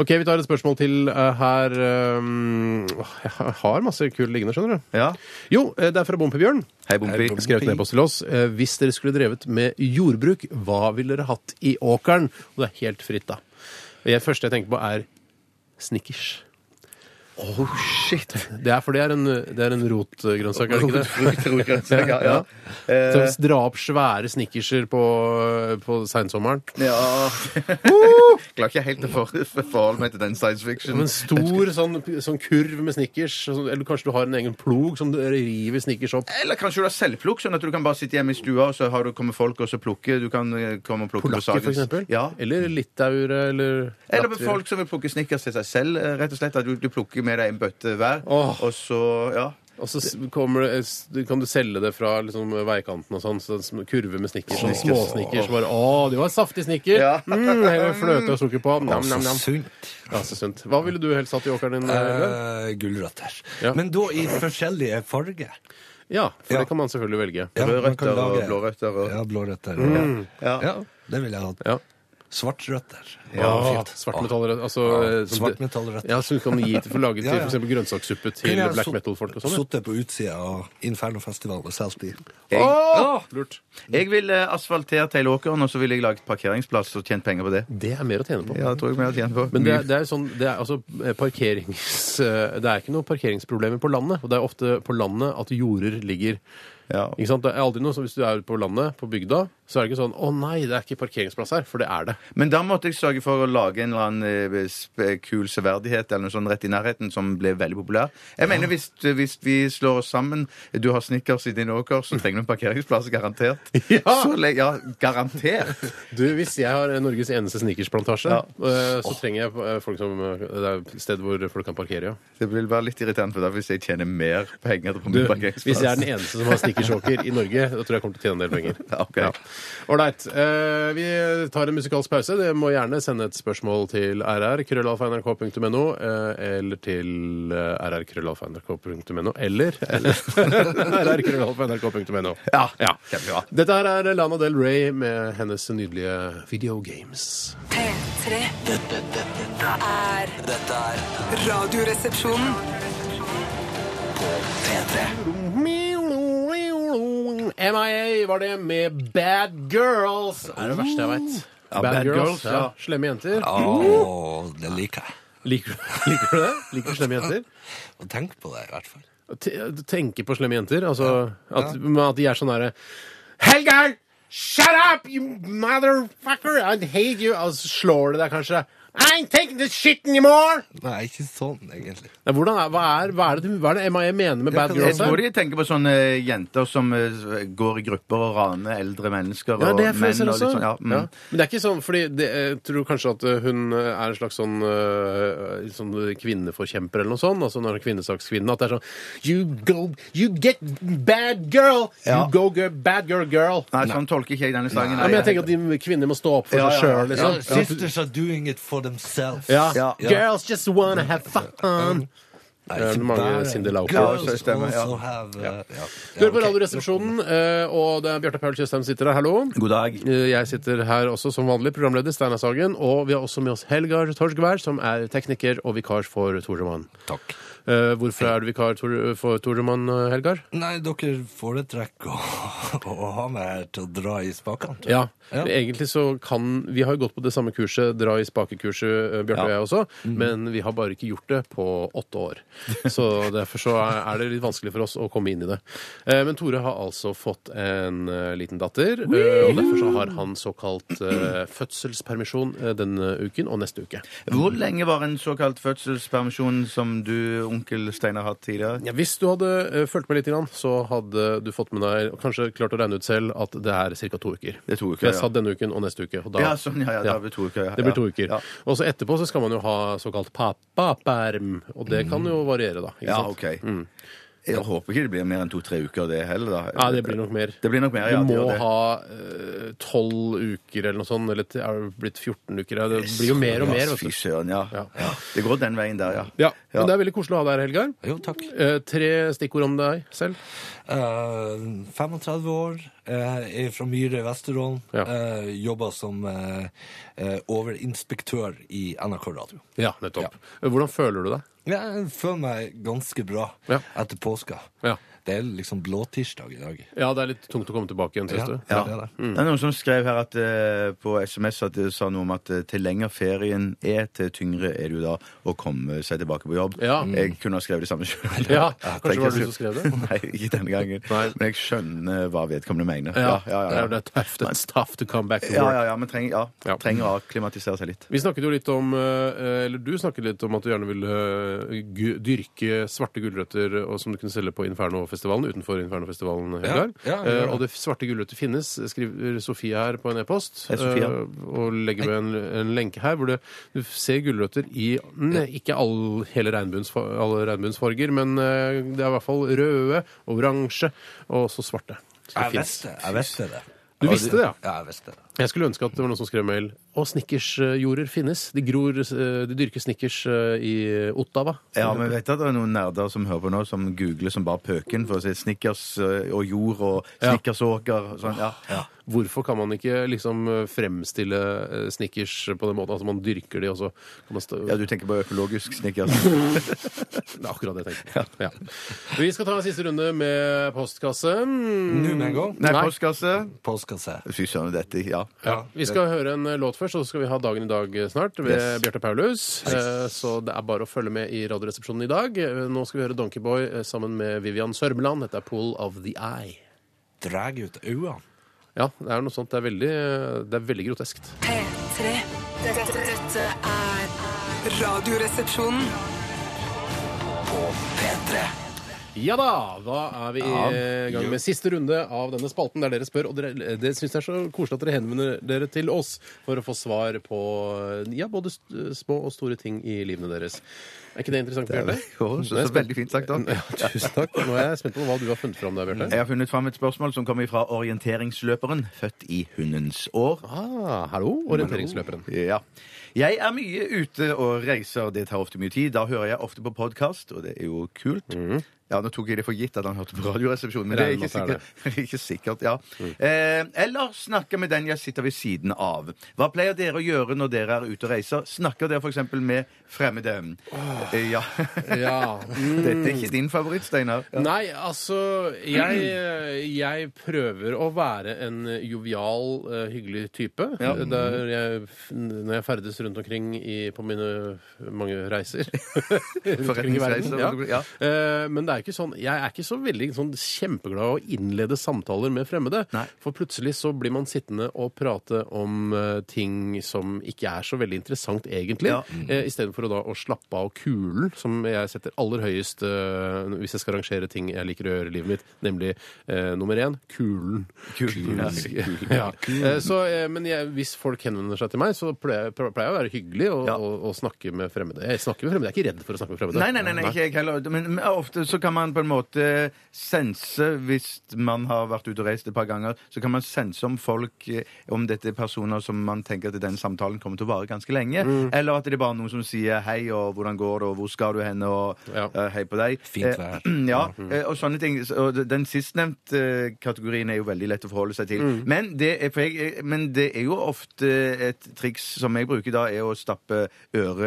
OK, vi tar et spørsmål til eh, her. ehm, åh, jeg har masse kul liggende, skjønner du.
Ja.
Jo, eh, det er fra Bompebjørn.
Hei, Bompi.
Skrevet ned på til oss. Eh, Hvis dere skulle drevet med jordbruk, hva ville dere hatt i åkeren? Og det er helt fritt, da. Det første jeg tenker på, er snickers.
Oh, shit.
Det er for det er en, det er en rotgrønnsak, er det ikke det?
Rotfrukt, rotgrønnsaker, ja.
Så hvis dra opp svære snickerser på, på seinsommeren.
ja. Klarer ikke helt å for- forholde meg til den science
Som
fiction.
en stor sånn, sånn kurv med snickers. og sånn- Eller kanskje du har en egen plog som du river snickers opp.
Eller kanskje du har selvplukk, sånn at du kan bare sitte hjemme i stua, og så har du kommet folk og så plukke. Du kan eh, komme og plukke på
Polakker,
sagens.
for eksempel.
Ja.
Eller litauere, eller
Eller med
latviere.
folk som vil plukke snickers til seg selv, eh, rett og slett. At du, du plukker med deg en bøtte hver,
Åh.
og så Ja.
Og så s- kommer det, s- kan du selge det fra liksom, veikanten og sånn. Så det er sm- kurve med snickers. Sånn
Snickers.
småsnickers. Bare, å, det var en saftig snicker!
Ja.
Mm, Heller fløte og sukker på. Nam, nam, nam.
sunt.
Ja, så sunt. Hva ville du helst hatt i åkeren din? Bjørn?
Eh, Gulrøtter.
Ja.
Men da i forskjellige farger.
Ja, for
ja.
det kan man selvfølgelig velge.
Ja, man kan
Rødrøtter og
lage-
blårøtter og Mm.
Ja, blårøtter. Ja.
Ja.
ja, det ville jeg hatt.
Ja.
Svartrøtter. Ah,
Ja, svartmetallrøtter. Altså,
Ja,
eh, som-
svartmetallrøtter.
Ja, som du kan gi til, for lage til
Ja, ja.
f.eks. grønnsakssuppe til
Kunne jeg
black
sott-
metal-folk og sånn. Mm.
Sittet på utsida av Infernofestivalen og solgt de.
Jeg,
Ja. Lurt.
jeg ville asfaltert hele åkeren, og så ville jeg laget parkeringsplass og tjent penger på det.
Det er mer å tjene på.
Ja, det tror jeg vi har tjent på.
Men det er, det er sånn, det er altså eh, parkerings... eh, Det er ikke noe parkeringsproblemer på landet. Og det er ofte på landet at jorder ligger.
ja.
Ikke sant? Det er aldri noe, så Hvis du er på landet, på bygda, så er det ikke sånn 'Å nei, det er ikke parkeringsplass her', for det er det.
Men da måtte jeg sørge for å lage en eller annen eh, sp- kul severdighet eller noe sånt rett i nærheten, som ble veldig populær. Jeg mener, hvis, eh, hvis vi slår oss sammen, du har snickers i din åker, så trenger du en parkeringsplass, garantert.
Ja.
Så le- ja garantert!
Du, Hvis jeg har eh, Norges eneste snickersplantasje,
Ja.
eh, så trenger jeg eh, folk som eh, Det er et sted hvor folk kan parkere, ja.
Det vil være litt irriterende for deg hvis jeg tjener mer penger på
Du,
min
hvis jeg er den
parkeringsplass.
eneste som har snickersåker i Norge, da tror jeg jeg kommer til å tjene en del penger.
Ja, ok.
Ålreit. eh, vi tar en musikalsk pause. Dere må gjerne sende et spørsmål til rr. krøllalfa.nrk.no eh, eller til eh, rr. krøllalfa.nrk.no eller, eller rr. krøllalfa.nrk.no.
Ja, kjempebra.
Dette her er Lana Del Rey med hennes nydelige Video Games.
P3
Dette, dette, dette,
er
dette er
Radioresepsjonen.
P3.
MIA var det med Bad Girls. Det er det verste jeg veit.
Ja,
bad,
Bad
Girls.
Girls, ja.
ja. Slemme jenter.
Å, Ah, det liker jeg.
Liker, du- liker du det? Liker du slemme jenter?
Og tenk på det, i hvert fall.
T- Du tenker på slemme jenter? Altså at, men at de er sånn derre Helgar! Shut up, you motherfucker! I hate you! Altså, slår det deg kanskje? I ain't taking this shit anymore!
Nei, ikke sånn, egentlig.
Nei, hvordan er, hva, er, hva, er det, du- hva er det MIA mener med bad
kan-
girls?
Jeg tror
her?
de tenker på sånne jenter som eh, går i grupper og raner eldre mennesker
Ja,
og
det
menn.
føler jeg
og litt
også.
sånn, ja, mm.
ja. Men det er ikke sånn, fordi det, jeg tror kanskje at eh, hun eh, er en slags sånn, eh, sånn kvinneforkjemper eller noe sånt, altså når hun er kvinnesakskvinne, at det er sånn You go, you get bad girl!
Ja.
You go get bad girl girl!
Nei, sånn tolker ikke jeg denne sangen.
Ja, men jeg tenker at de kvinner må stå opp for
Ja,
seg sjøl,
ja, ja.
liksom. Ja.
Sisters are doing it for themselves.
Ja.
Ja.
Girls just wanna have fun.
Nei,
Det er
ikke
mange
bare-
Cyndi Lauper.
Girls
Ja, stemmer, ja.
also have, uh, ja.
Du hører på
ok.
Radioresepsjonen, eh, og det er Bjarte Paul Tjøstheim sitter her. Hallo.
God dag.
Eh, Jeg sitter her også som vanlig, programleder Steinar Sagen. Og vi har også med oss Helgar Torskvær, som er tekniker og vikar for Toremann.
Takk.
Eh, hvorfor er du vikar Tor for Toremann, eh, Helgar?
Nei, dere foretrekker å, å ha meg her til å dra i spakene. tror jeg.
Ja. Egentlig så kan Vi har jo gått på det samme kurset, dra i spakekurset, eh, Bjarte og
Ja.
jeg også, men vi har bare ikke gjort det på åtte år. Så derfor så er er det litt vanskelig for oss å komme inn i det. Eh, Men Tore har altså fått en eh, liten datter, eh, og derfor så har han såkalt eh, fødselspermisjon eh, denne uken og neste uke.
Hvor lenge var en såkalt fødselspermisjon som du, onkel Steinar, hatt tidligere?
Ja, hvis du hadde eh, fulgt med litt, grann, så hadde du fått med deg og kanskje klart å regne ut selv at det er ca. to uker.
Det er to uker,
For jeg
ja.
sa denne uken og neste uke. Og da,
Ja, sånn, ja, ja, da blir det to uker, ja,
det blir to
ja,
uker.
ja.
Og så etterpå så skal man jo ha såkalt pappaperm, og det kan jo variere, da. Ikke
Ja,
sant?
OK. Jeg håper ikke det blir mer enn to-tre uker, det heller. da.
Ja, det blir nok mer.
Det blir nok mer, ja.
du
det
må
gjør det.
ha eh, tolv uker eller noe sånt, eller til- er det blitt 14 uker? Ja, Det blir jo mer og
Ja,
mer. Vet
Fy
du.
søren, ja.
Ja.
ja. Det går den veien der, ja.
Ja,
Ja.
men det er veldig koselig å ha deg her, Helgar.
Jo, takk.
Eh, tre stikkord om deg selv.
Eh, 35 år, eh, er fra Myhre i Vesterålen.
Ja.
eh, jobber som eh, eh, overinspektør i NRK Radio.
Ja, nettopp. Hvordan føler du deg?
Jeg føler meg ganske bra
Ja.
etter påska.
Ja.
Det er liksom blåtirsdag i dag.
ja, det er litt tungt å komme tilbake igjen, syns
Ja.
du?
Ja, det er det.
Det er noen som skrev her at, eh, på SMS at det sa noe om at eh, til lenger ferien er, til tyngre er det jo da å komme seg tilbake på jobb.
Ja.
Jeg kunne ha skrevet det samme sjøl.
Ja, kanskje var det du som skrev det?
Nei, ikke denne gangen.
Nei.
Men jeg skjønner hva vedkommende mener.
Ja,
ja,
det er
ja.
jo det tøft. It's tough to come back to
ja,
work.
ja, ja men trenger, ja,
Ja.
trenger å akklimatisere seg litt.
Vi snakket jo litt om, eh, eller Du snakket litt om at du gjerne ville eh, gu- dyrke svarte gulrøtter eh, og som du kunne selge på Infernofestivalen utenfor Infernofestivalen. Helgar.
ja, vi gjør det.
Eh, og det svarte gulrøtter finnes, skriver Sofie her på en e-post.
Hei, Sofie.
eh, og legger ved en, en lenke her hvor det, du ser gulrøtter i ne, ikke all, hele regnbuens, alle regnbuensfarger, men eh, det er i hvert fall røde, oransje og også svarte. Så det
Jeg
finnes.
visste, jeg visste det.
Du visste det, ja?
Ja, jeg visste det.
Jeg skulle ønske at det var noen som skrev mail. Og snickersjorder finnes. De, gror, eh, de dyrker snickers eh, i Ottawa.
Ja, men vet du at det er noen nerder som hører på nå, som googler som bare pøken for å si snickers eh, og jord og
Ja.
snickersåker og sånn. Ja.
Hvorfor kan man ikke liksom eh, fremstille eh, snickers på den måten? Altså man dyrker de, og så kan man stå
ja, du tenker på økologisk snickers.
Det er akkurat det jeg tenkte. Ja. Vi skal ta en siste runde med postkasse.
Mm.
Nå med en gang.
Nei,
Nei.
postkasse.
Påskasse.
Fy søren, dette, ja.
Ja. Vi skal høre en eh, låt først, og så skal vi ha Dagen i dag eh, snart ved
Yes.
Bjarte Paulus. Eh, Så det er bare å følge med i Radioresepsjonen i dag. Eh, Nå skal vi høre Donkeyboy eh, sammen med Vivian Sørmeland. Dette er Pool of the Eye.
Dreg ut øynene.
Ja, det er noe sånt. Det er veldig, det er veldig groteskt.
P3. Dette, dette er Radioresepsjonen.
Ja da! Da er vi i gang med siste runde av denne spalten der dere spør. Og dere, det syns jeg er så koselig at dere henvender dere til oss for å få svar på ja, både st- små og store ting i livene deres. Er ikke det interessant? Bjarte?
Jo, så,
Nå er jeg
så
spent-
veldig fint sagt, da.
Ja, tusen takk. Nå er jeg spent på hva du har funnet fram der, Bjarte.
Jeg har funnet fram et spørsmål som kommer fra orienteringsløperen, født i hundens år.
Ah, hallo, orienteringsløperen.
Ja. Jeg er mye ute og reiser, det tar ofte mye tid. Da hører jeg ofte på podkast, og det er jo kult. Ja, Nå tok jeg det for gitt at han hørte på Radioresepsjonen, men Mhm. det er
Regner
ikke
med at det er
sikkert. Det er ikke sikkert ja. eh, eller snakke med den jeg sitter ved siden av. Hva pleier dere å gjøre når dere er ute og reiser? Snakker dere f.eks. med fremmede? Eh, Ja. Mm.
Ja.
Dette er ikke din favoritt, Steinar.
Nei, altså jeg, jeg prøver å være en jovial, eh, hyggelig type. Der jeg, når jeg ferdes rundt omkring i, på mine mange reiser. Rundt omkring i verden,
Forretningsreiser,
Ja.
ja.
Eh, Men det er ikke sånn, jeg er ikke så veldig sånn, kjempeglad å innlede samtaler med fremmede.
Nei.
For plutselig så blir man sittende og prate om eh, ting som ikke er så veldig interessant egentlig.
Ja.
Eh, Istedenfor å da å slappe av kulen, som jeg setter aller høyest eh, hvis jeg skal rangere ting jeg liker å gjøre i livet mitt, nemlig eh, nummer én kulen.
Kulen, ja.
ja. Eh, så, eh, men jeg, hvis folk henvender seg til meg, så pleier jeg pleier jeg å være hyggelig og,
Ja.
og, og snakke med fremmede. Jeg snakker med fremmede, jeg er ikke redd for å snakke med fremmede.
Nei, nei, nei, nei, ikke jeg heller. Men men ofte så kan man på en måte sense, hvis man har vært ute og reist et par ganger, så kan man sense om folk eh, Om dette er personer som man tenker at den samtalen kommer til å vare ganske lenge. Eller at det er bare noen som sier 'hei', og 'hvordan går det', og 'hvor skal du hen', og
Ja.
eh, 'hei på deg'.
Fint vær.
Eh, ja,
Mhm.
eh, og sånne ting. Så- Og den sistnevnte eh, kategorien er jo veldig lett å forholde seg til.
Mm.
Men, det er, for jeg, eh, men det er jo ofte et triks som jeg bruker da, er å stappe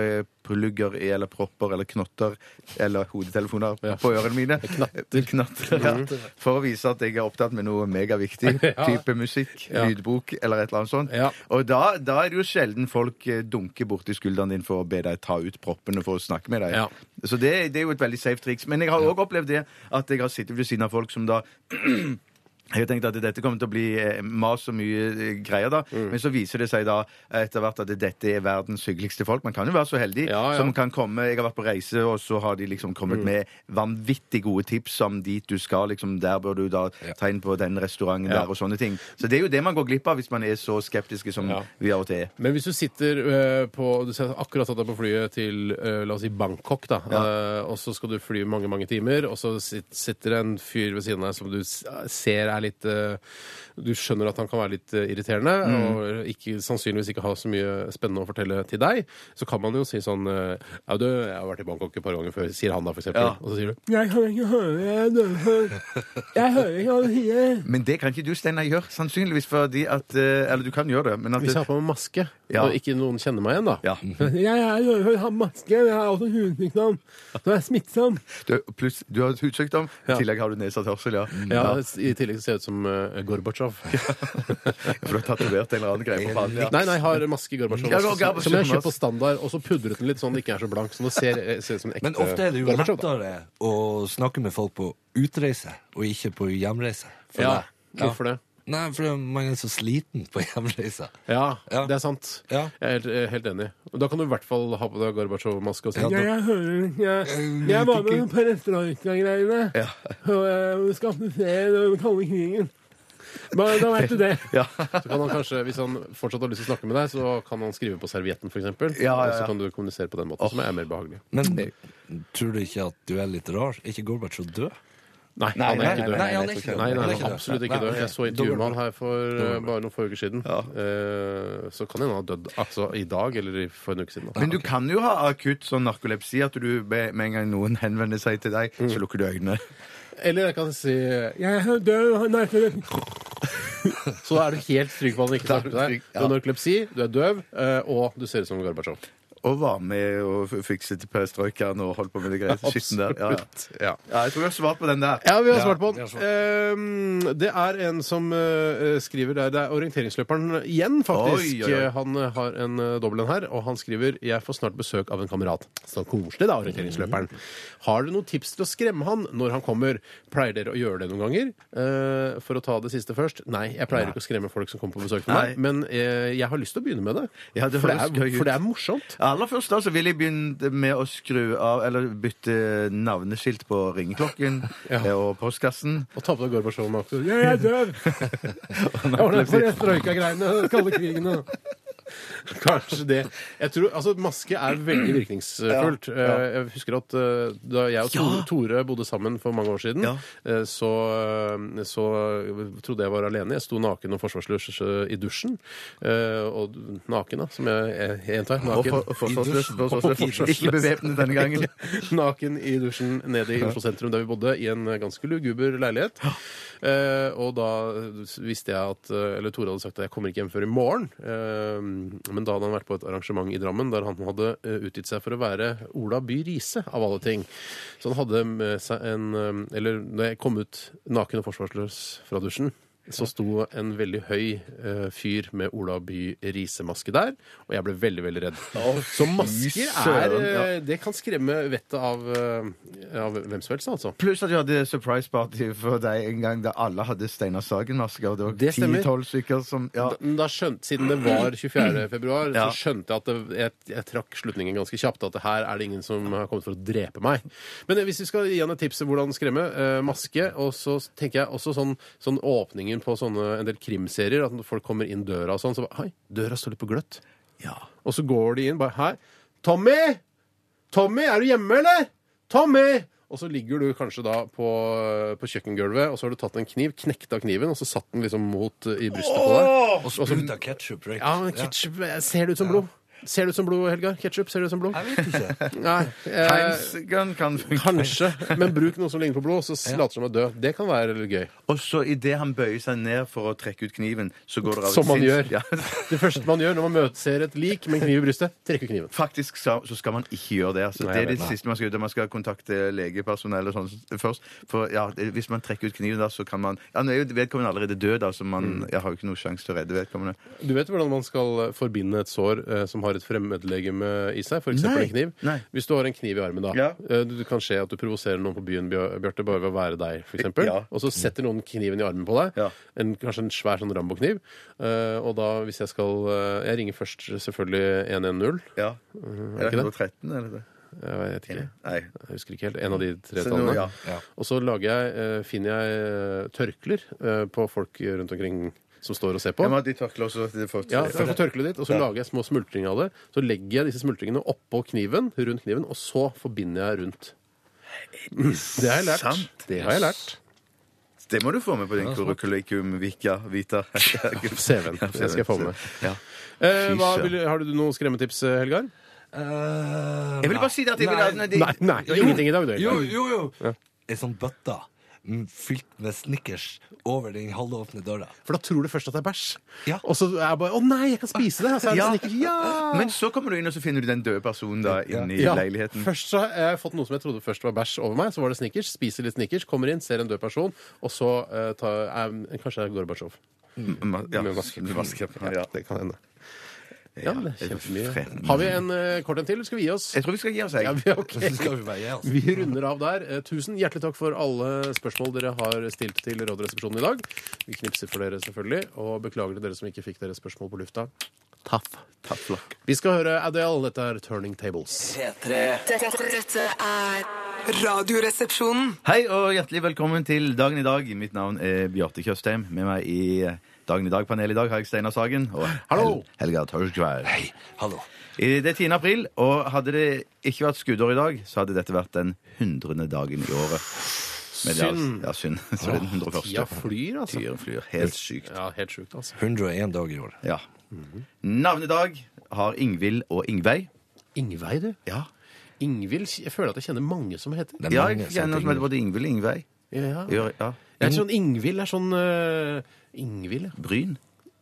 øreplugger i, eller propper eller knotter eller hodetelefoner på ørene mine. Knatter. ja. For å vise at jeg er opptatt med noe megaviktig. Type musikk,
Ja.
lydbok eller et eller annet sånt.
Ja.
Og da, da er det jo sjelden folk eh, dunker borti skulderen din for å be deg ta ut proppene for å snakke med deg.
Ja.
Så det, det er jo et veldig safe triks. Men jeg har òg opplevd det at jeg har sittet ved siden av folk som da Jeg tenkte at dette kommer til å bli eh, mas og mye eh, greier, da.
Mm.
Men så viser det seg da eh, etter hvert at dette er verdens hyggeligste folk. Man kan jo være så heldig
Ja, Mm. ja.
som kan komme Jeg har vært på reise, og så har de liksom kommet med vanvittig gode tips om dit du skal. liksom Der bør du da ta inn på den restauranten
Ja.
der, og sånne ting. Så det er jo det man går glipp av hvis man er så skeptiske som
Ja.
vi av og til er.
Men hvis du sitter eh, på Du har akkurat tatt deg på flyet til eh, la oss si Bangkok, da. eh, og så skal du fly mange mange timer, og så sit, sitter det en fyr ved siden av deg som du s- ser er litt eh, Du skjønner at han kan være litt eh, irriterende, og ikke, sannsynligvis ikke ha så mye spennende å fortelle til deg. Så kan man jo si sånn eh, Ja, du, jeg har vært i Bangkok et par ganger før, sier han da, for eksempel.
Ja.
Og så sier du Jeg hører ikke høre Jeg hører ikke hva du sier.
Men det kan ikke du, Steinar, gjøre. Sannsynligvis fordi at eh, Eller du kan gjøre det, men at
Hvis jeg har på meg maske,
Ja.
og ikke noen kjenner meg igjen, da.
Ja.
Jeg, er- jeg har maske, men jeg har også hudsykdom. Så jeg er smittsom.
du, pluss, du har hudsykdom,
Ja. Mm.
i tillegg har du nedsatt hørsel, ja.
Ja, I tillegg ser jeg ut som uh, Gorbatsjov.
For du har tatovert en eller annen greie på pannen. Ja.
Nei, nei, jeg har maske i Gorbatsjov.
Ja,
også,
Gorbatsjov,
som jeg kjøper på
masse.
standard, og så pudret den litt sånn den ikke er så blank. Så det ser, ser ut som en ekte
Eh,
Men ofte er det jo
Gorbatsjov, da.
lettere å snakke med folk på utreise og ikke på hjemreise. for
Ja,
deg.
hvorfor det?
Nei, for man er så sliten på hjemreise.
Ja,
Ja.
det er sant.
Ja.
Jeg er helt, jeg er helt enig. Og Da kan du i hvert fall ha på deg Gorbatsjov-maske og si
Ja, da-
jeg hører Jeg, jeg var med på restaurantgreiene. Og jeg skapte fred og den kalde krigen. Men da vet du det.
Ja.
Så kan han kanskje, Hvis han fortsatt har lyst til å snakke med deg, så kan han skrive på servietten f.eks.
Ja, ja, ja.
Og så kan du kommunisere på den måten, som er mer behagelig.
Men tror du ikke at du er litt rar? Er ikke Gorbatsjov død?
Nei, han er
nei,
ikke
nei,
død.
nei,
han er ikke død.
Nei, nei,
Han er
han
ikke
er
død.
absolutt
Nei,
ikke død.
ok.
Jeg så
Da går
intervjuet med
det
han her for eh, bare noen få uker siden. Eh, Så kan hende han har dødd altså, i dag eller i- for en uke siden. da.
Men du kan jo ha akutt sånn narkolepsi at du med med en gang noen henvender seg til deg,
Mm.
så lukker du øynene.
Eller jeg kan si Jeg er død han er død. Så da er du helt trygg på at han ikke
Da er
snakker
du
til deg.
trygg,
Du har
ja.
narkolepsi, du er døv, eh, og du ser ut som Gorbatsjov.
Og var med og f- fikset perestrojkaen og holdt på med det greia. Skitten der. Ja, ja.
Absolutt, ja.
ja, jeg tror jeg har svart på den der.
Ja, vi har svart på
vi har
den. Ehm, det er en som eh, skriver der. Det er orienteringsløperen igjen, faktisk.
Oi, oi, oi.
Han eh, har en uh, dobbel en her, og han skriver 'Jeg får snart besøk av en kamerat'. Så koselig, da, orienteringsløperen. Har dere noen tips til å skremme han når han kommer? Pleier dere å gjøre det noen ganger? Eh, for å ta det siste først. Nei, jeg pleier ikke å skremme folk som kommer på besøk til meg,
Nei.
men eh, jeg har lyst til å begynne med det.
Ja, det
for, det
høres
er,
gøy ut.
for det er morsomt.
Aller først da så vil jeg begynne med å skru av eller bytte navneskilt på ringeklokken eh, og postkassen.
Å ta på deg Gorbatsjov også. Ja, jeg er døv! Jeg ordner for Troika-greiene, kalde krigen og Kanskje det. Jeg tror, altså Maske er veldig virkningsfullt. Eh, Jeg husker at eh, da jeg og Tore, Tore bodde sammen for mange år siden,
Ja.
eh, så, eh, så trodde jeg var alene. Jeg sto naken og forsvarsløs eh, i dusjen. Eh, Og naken, da, som jeg jeg gjentar.
Og
Naken.
for- og forsvarsløs. forsvarsløs. Ikke bevæpnet denne gangen.
Naken i dusjen nede i Oslo sentrum der vi bodde, i en ganske luguber leilighet. Eh, og da visste jeg at eh, Eller Tore hadde sagt at jeg kommer ikke hjem før i morgen. Eh, men da hadde han vært på et arrangement i Drammen der han hadde eh, utgitt seg for å være Ola By Riise, av alle ting. Så han hadde med seg en eh, Eller når jeg kom ut naken og forsvarsløs fra dusjen så sto en veldig høy eh, fyr med Ola By Riise-maske der, og jeg ble veldig, veldig redd. så masker er
søren, ja.
eh, Det kan skremme vettet av, eh, av hvem som helst, altså.
Pluss at vi hadde surprise party for deg en gang da alle hadde Steinar Sagen-masker. og Det var
Det stemmer.
10-12 stykker som ja.
Men Da skjønt, siden det var 24. februar,
Ja.
så skjønte jeg at det, jeg, jeg trakk slutningen ganske kjapt. At det her er det ingen som har kommet for å drepe meg. Men eh, hvis vi skal gi han et tips om hvordan skremme, eh, maske, og så tenker jeg også sånn, sånn åpningen på sånne, en del krimserier, at når folk kommer inn døra og sånn, så bare Hei, døra står litt på gløtt. Og så går de inn bare Hei, Tommy! Tommy, er du hjemme, eller? Tommy! Og så ligger du kanskje da på, på kjøkkengulvet, og så har du tatt en kniv, knekt av kniven, og så satt den liksom mot eh, i brystet på deg.
Og sprut av ketsjup, right?
Ja, men ketchup eh, Ser det ut som blod? Ser det ut som blod, Helgar? Ketchup, ser det ut som blod?
Jeg vet ikke.
Nei. Eh,
Heinz-gun kan funke.
kanskje. Men bruk noe som ligner på blod, og så later som å dø. Det kan være litt gøy.
Og så idet han bøyer seg ned for å trekke ut kniven, så går det av et
Som man
sinns-
gjør.
Ja.
Det første man gjør når man møter, ser et lik med en kniv i brystet, trekker kniven.
Faktisk så, så skal man ikke gjøre det. Altså,
Nei,
det er
nei,
det
nei.
siste Man skal gjøre. Man skal kontakte legepersonell og sånn først. For ja, det- Hvis man trekker ut kniven, da, så kan man Ja, Nå er jo vedkommende allerede
Mm.
altså. død, da, så man jeg har jo ikke noen sjanse til å redde vedkommende.
Du vet hvordan man skal eh, forbinde et sår eh, som har har et fremmedlegeme i seg, f.eks. en kniv
Nei.
Hvis du har en kniv i armen, da
Ja.
eh, Det kan skje at du provoserer noen på byen, Bjør- Bjarte, bare ved å være deg, f.eks.
Ja.
Og så setter noen kniven i armen på deg,
Ja.
en, kanskje en svær sånn Rambo-kniv. eh, og da, hvis jeg skal eh, Jeg ringer først selvfølgelig 110.
Ja. Er
det
det
ikke
113, eller det?
Eh, Jeg vet ikke.
Nei.
Jeg husker ikke helt. En av de tre
Så nå,
tallene.
ja,
ja.
Og så lager jeg, eh, finner jeg eh, tørklær eh, på folk rundt omkring som står og ser på.
Jeg må ha de tørklærne også. så det får-
Ja, for å få tørkleet ditt, og så lager jeg små smultringer av det. Så legger jeg disse smultringene oppå kniven, rundt kniven, og så forbinder jeg rundt. Det har jeg lært.
Sant.
Det har jeg lært.
Det må du få med på din curriculum vika, vita.
CV-en. Det skal jeg få med.
Ja.
Eh, hva
søren.
vil, har du noen skremmetips, eh, Helgar?
Jeg vil bare si det at jeg vil ha den
Nei, nei, ingenting i dag. Du,
Eh, Jo,
Helgar.
jo, jo. Ei sånn bøtte mm, fylt med Snickers over den halvåpne døra.
For da tror du først at det er bæsj.
Ja.
Og så er jeg bare Å nei, jeg kan spise det! Og så er det
Ja.
sånn, ikke- ja.
Men så kommer du inn, og så finner du den døde personen da inne i
Ja,
leiligheten.
Først så har jeg fått noe som jeg trodde først var bæsj over meg. Så var det Snickers. Spiser litt Snickers, kommer inn, ser en død person, og så eh, tar jeg Kanskje det er Gorbatsjov.
Ma- Ja,
Med vaske-
med vaske- ja.
Det kan hende. Ja, men det er kjempemye.
Frem.
Har vi en eh, kort en til? Skal vi gi oss?
Jeg tror vi skal gi oss,
Ja,
jeg.
vi, ok.
Så skal vi bare gi oss.
vi runder av der. Eh, Tusen hjertelig takk for alle spørsmål dere har stilt til Råderesepsjonen i dag. Vi knipser for dere, selvfølgelig. Og beklager til dere som ikke fikk deres spørsmål på lufta. Taff. Vi skal høre Adele. Dette er 'Turning Tables'.
P3
Dette, dette er Radioresepsjonen.
Hei og hjertelig velkommen til Dagen i dag. Mitt navn er Bjarte Tjøstheim. Med meg i Dagen i dag-panelet i dag har jeg Steinar Sagen og
Hallo!
Hel Helga Torskvær.
Hei, hallo.
I- Det er 10. april, og hadde det ikke vært skuddår i dag, så hadde dette vært den 100. dagen i året. Men det er-
Synd.
Ja, synd. Så det er den 101.
Tida flyr, altså.
Tida flyr. Helt sykt.
Ja, helt sjukt, altså.
101 dager i år.
Ja. Navnedag har Ingvild og Ingveig.
Ingveig, du.
Ja.
Ingvild Jeg føler at jeg kjenner mange som heter
Det er
ja
mange
jeg
sånne
kjenner noen som
ting.
heter både Ingvild og Ingveig.
Ja.
Ja, ja.
Jeg er sånn Ingvild er sånn øh, Ingvild, ja.
Bryn?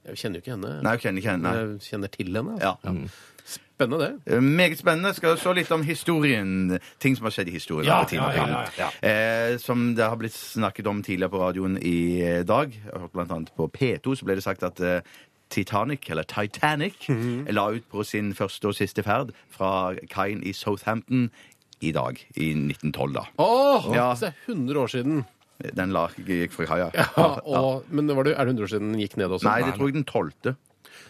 Jeg kjenner jo ikke henne.
Nei, jeg kjenner ikke henne.
Men
Nei.
Jeg kjenner til henne.
Ja.
altså. Spennende, det.
Eh, Meget spennende. Skal så litt om historien. Ting som har skjedd i historien.
Ja,
på 10.
ja, ja,
april. Eh, som det har blitt snakket om tidligere på radioen i eh, dag. Jeg har hørt Blant annet på P2 så ble det sagt at eh, Titanic, eller Titanic,
Mhm.
la ut på sin første og siste ferd fra kaien i Southampton i dag. I 1912, da.
Åh,
Ja.
Så det er 100 år siden.
Den la, gikk fra kaia.
Ja, og, men var det, er det 100 år siden den gikk ned også?
Nei, det tror jeg den tolvte.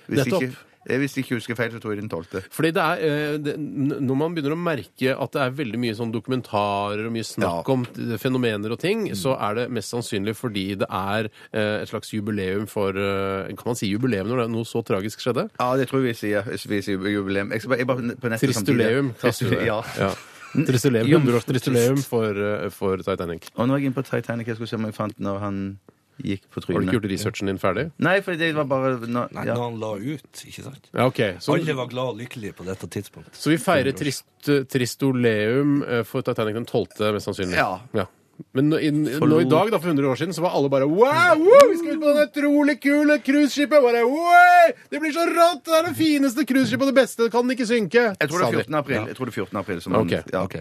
Hvis,
Nettopp.
ikke- eh, hvis jeg ikke husker feil, så tror jeg den tolvte.
Fordi det er, eh, det, n- Når man begynner å merke at det er veldig mye sånn dokumentarer og mye snakk
Ja.
om t- fenomener og ting, så er det mest sannsynlig fordi det er eh, et slags jubileum for eh, Kan man si jubileum når det er noe så tragisk skjedde?
Ja, det tror jeg vi sier. Vi sier jubileum. Jeg skal bare, jeg bare på nettet
Tristuleum.
samtidig.
kaster du det.
sånn
Ja.
Ja.
Tristuleum, 100 års tristuleum for, eh, for Titanic.
Og nå er jeg inne på Titanic. Jeg skulle se om jeg fant når han gikk
Har du
på
ikke
trynet.
gjort researchen din ferdig?
Nei, for det var bare nå,
Nei,
ja.
da han la ut, ikke sant?
Ja, ok. Så,
Alle var glad og lykkelige på dette tidspunktet.
så vi feirer trist, tristoleum eh, for Titanic den 12., mest sannsynlig.
Ja.
Men nå i, nå i dag, da, for 100 år siden, så var alle bare Wow! wow vi skal ut på denne utrolig kule cruiseskipet! Bare, wow, Det blir så rått! Det er det fineste cruiseskipet og det beste! Det kan ikke synke!
Jeg tror
sa
det er
de.
14. april. Jeg tror det er 14. april som
Ok,
han- ja.
ok.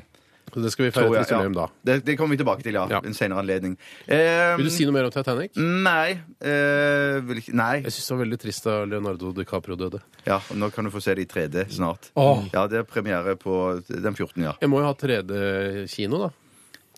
Så det skal vi
Tror
feire
jeg, ja.
tristoleum da.
Det, det kommer vi tilbake til, ja.
Ja.
En senere anledning. Eh,
Vil du si noe mer om Titanic?
Nei. Eh, vil ikke, nei.
Jeg syns det var veldig trist da Leonardo DiCaprio døde.
Ja, og nå kan du få se det i 3D snart.
Åh.
Ja, Det er premiere på den 14., ja.
Jeg må jo ha 3D-kino, da.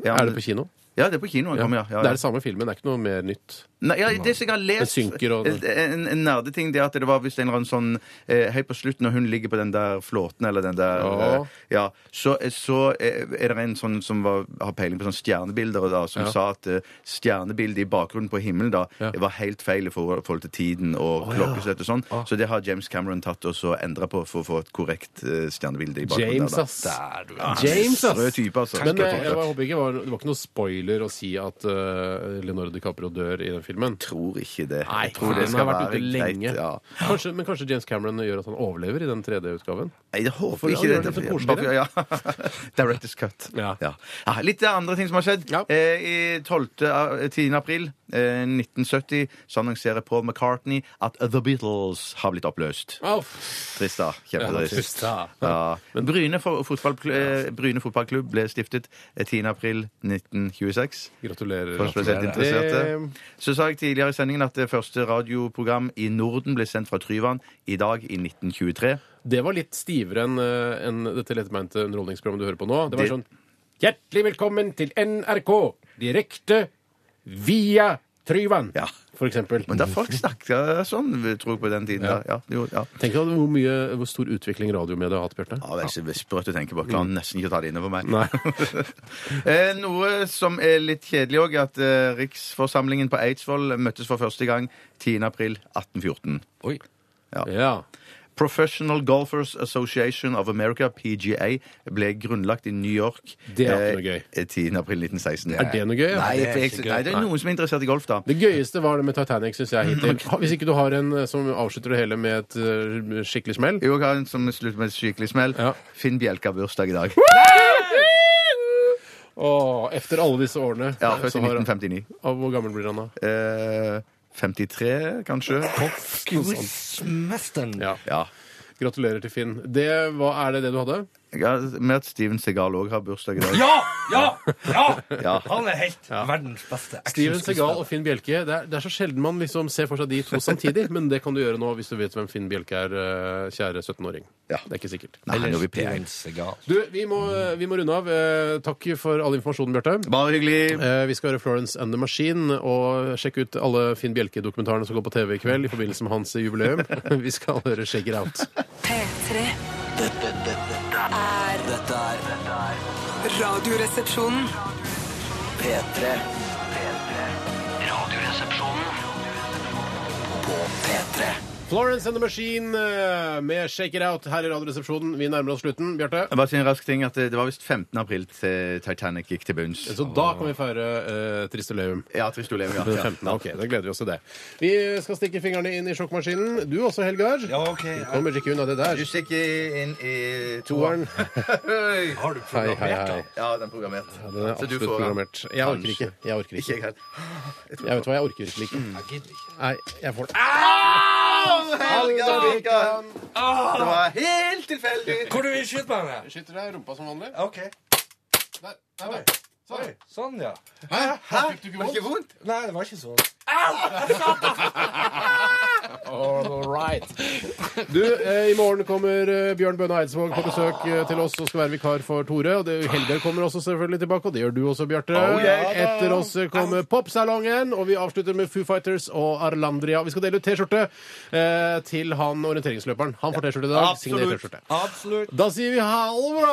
ja
er det på kino?
Ja, det er på kino. han kommer, ja. Ja, ja.
Det er det samme filmen, det er ikke noe mer nytt.
Nei, ja, det som jeg har
Det
lest Eh,
synker og-
En, en nerdeting det er at det var visst en eller annen sånn eh, Helt på slutten, når hun ligger på den der flåten eller den der
Ja.
eh, ja, så, så eh, er det en sånn som var, har peiling på sånne stjernebilder, og da, som
Ja.
sa at eh, stjernebildet i bakgrunnen på himmelen da
Ja.
var helt feil i forhold forhold til tiden og klokkeslett og sånn.
Ah.
Så det har James Cameron tatt og så endra på for å få et korrekt eh, stjernebilde i bakgrunnen.
James,
der, da.
ass.
Der, du.
James, ass!
Rød type, altså.
Men
Rød
eh,
type.
jeg håper ikke det var, det var ikke noe spoiler å si at uh, Leonardo DiCaprio dør i den filmen.
tror ikke det.
Nei,
jeg tror det
han
skal
har vært
være
ute
greit.
lenge.
Ja.
Kanskje, men kanskje James Cameron gjør at han overlever i den 3D-utgaven?
Nei, jeg håper
For
ikke
det hadde
det.
vært litt
Bare-
koseligere.
ja. Director's cut.
Ja.
Ja. Ja, litt andre ting som har skjedd.
Ja.
Eh, i 12. av- 10. april eh, 1970 så annonserer Paul McCartney at The Beatles har blitt oppløst. Trist, da.
Ja, trist,
Kjempetrist.
da.
Ja. Bryne, fo- fotballkl- eh, Bryne fotballklubb ble stiftet eh, 10. april 1926.
Gratulerer.
For spesielt
Eh.
interesserte. Så sa jeg tidligere i sendingen at det første radioprogram i Norden ble sendt fra Tryvann i dag i 1923.
Det var litt stivere enn eh, enn dette lettbeinte underholdningsprogrammet du hører på nå. Det var
Det-
sånn Hjertelig velkommen til NRK direkte via Tryvann,
Ja.
for eksempel.
Men da folk snakka sånn, tror jeg, på den tiden. Ja. Ja, jo, ja.
Tenk deg hvor, mye, hvor stor utvikling radiomediet har hatt, Bjarte.
Ja, det er ikke sprøtt å tenke på. Jeg Klarer nesten ikke å ta det innover meg.
Nei.
Eh, Noe som er litt kjedelig òg, er at eh, riksforsamlingen på Eidsvoll møttes for første gang 10. april 1814.
Oi.
Ja.
Professional Golfers Association of America, PGA, ble grunnlagt i New York
Det er ikke noe
eh, 10. april 1916.
Er det noe gøy?
Nei,
det er
jeg,
ikke gøy.
nei, det er noen som er interessert i golf, da.
Det gøyeste var det med Titanic, syns jeg
Mm,
hittil. Ha- Hvis ikke du har en eh, som avslutter det hele med et eh, skikkelig smell.
Jo, jeg har en som slutter med et skikkelig smell.
Ja.
Finn Bjelke har bursdag i dag.
Åh, efter alle disse årene.
Ja,
så
Født i
har-
1959.
Og Hvor gammel blir han da?
Eh, 53, kanskje?
Quizmesteren.
Ja.
Ja.
Gratulerer til Finn. Det, hva er det det du hadde?
Jeg har med at Steven Segal òg har bursdag i dag.
Ja! Ja! ja!
Ja.
Han er helt verdens beste
Steven Segal og
actionskuespiller.
Finn Bjelke. Det er, det er så sjelden man liksom ser for seg de to samtidig, men det kan du gjøre nå hvis du vet hvem Finn Bjelke er, eh, kjære 17-åring.
Ja.
Det er ikke sikkert.
Nei, han jobber i
Steven
P1.
Segal.
Du, vi må, vi må runde av. Eh, Takk for all informasjonen, Bjarte.
Bare hyggelig.
Eh, Vi skal høre Florence and the Machine og sjekke ut alle Finn Bjelke-dokumentarene som går på TV i kveld i forbindelse med hans jubileum. Vi skal høre Shake It Out.
P3
Dette, dette, dette er Dette er dette er
Radioresepsjonen
P3. P3. Radioresepsjonen på P3.
Florence and the Machine eh, med Shake It Out her i Radioresepsjonen. Vi nærmer oss slutten, Bjarte.
Jeg Bare si en rask ting at Det det var visst 15. april til Titanic gikk til bunns.
Så da kan vi feire eh, Tristoleum.
Ja, trist å leve,
Den
ja.
15. Ok, da gleder vi oss til det. Vi skal stikke fingrene inn i sjokkmaskinen. Du også, Helgar.
Ja, OK.
Du kommer ikke unna det
Du
der.
stikker inn i
Toeren.
Hei.
Har du
Hei, hei,
programmert
hei.
den?
Ja, den er programmert.
Den er
Så du
absolutt
får den.
programmert. Jeg orker
Kanskje.
ikke. Jeg orker
Ikke
ikke.
jeg heller.
Jeg vet hva, jeg orker virkelig ikke.
Jeg gidder ikke.
Nei, jeg får den. Ah!
Helga Vikan!
Ah!
Det var helt tilfeldig.
Hvor du vil skyte meg med?
Skyter deg i rumpa som vanlig.
OK.
Nei, nei, nei. Sorry.
Sånn, ja.
Hæ? Var det ikke vondt?
Nei, det var ikke sånn.
All right. Du, eh, i morgen kommer eh, Bjørn Bønne Eidsvåg på besøk eh, til oss og skal være vikar for Tore. Og det, Helgar kommer også selvfølgelig tilbake, og det gjør du også, Bjarte. Etter oss eh, kommer Popsalongen, og vi avslutter med Foo Fighters og Arlandria. Vi skal dele ut T-skjorte eh, til han orienteringsløperen. Han får T-skjorte i dag. Signert T-skjorte.
Absolutt.
Da sier vi ha det bra!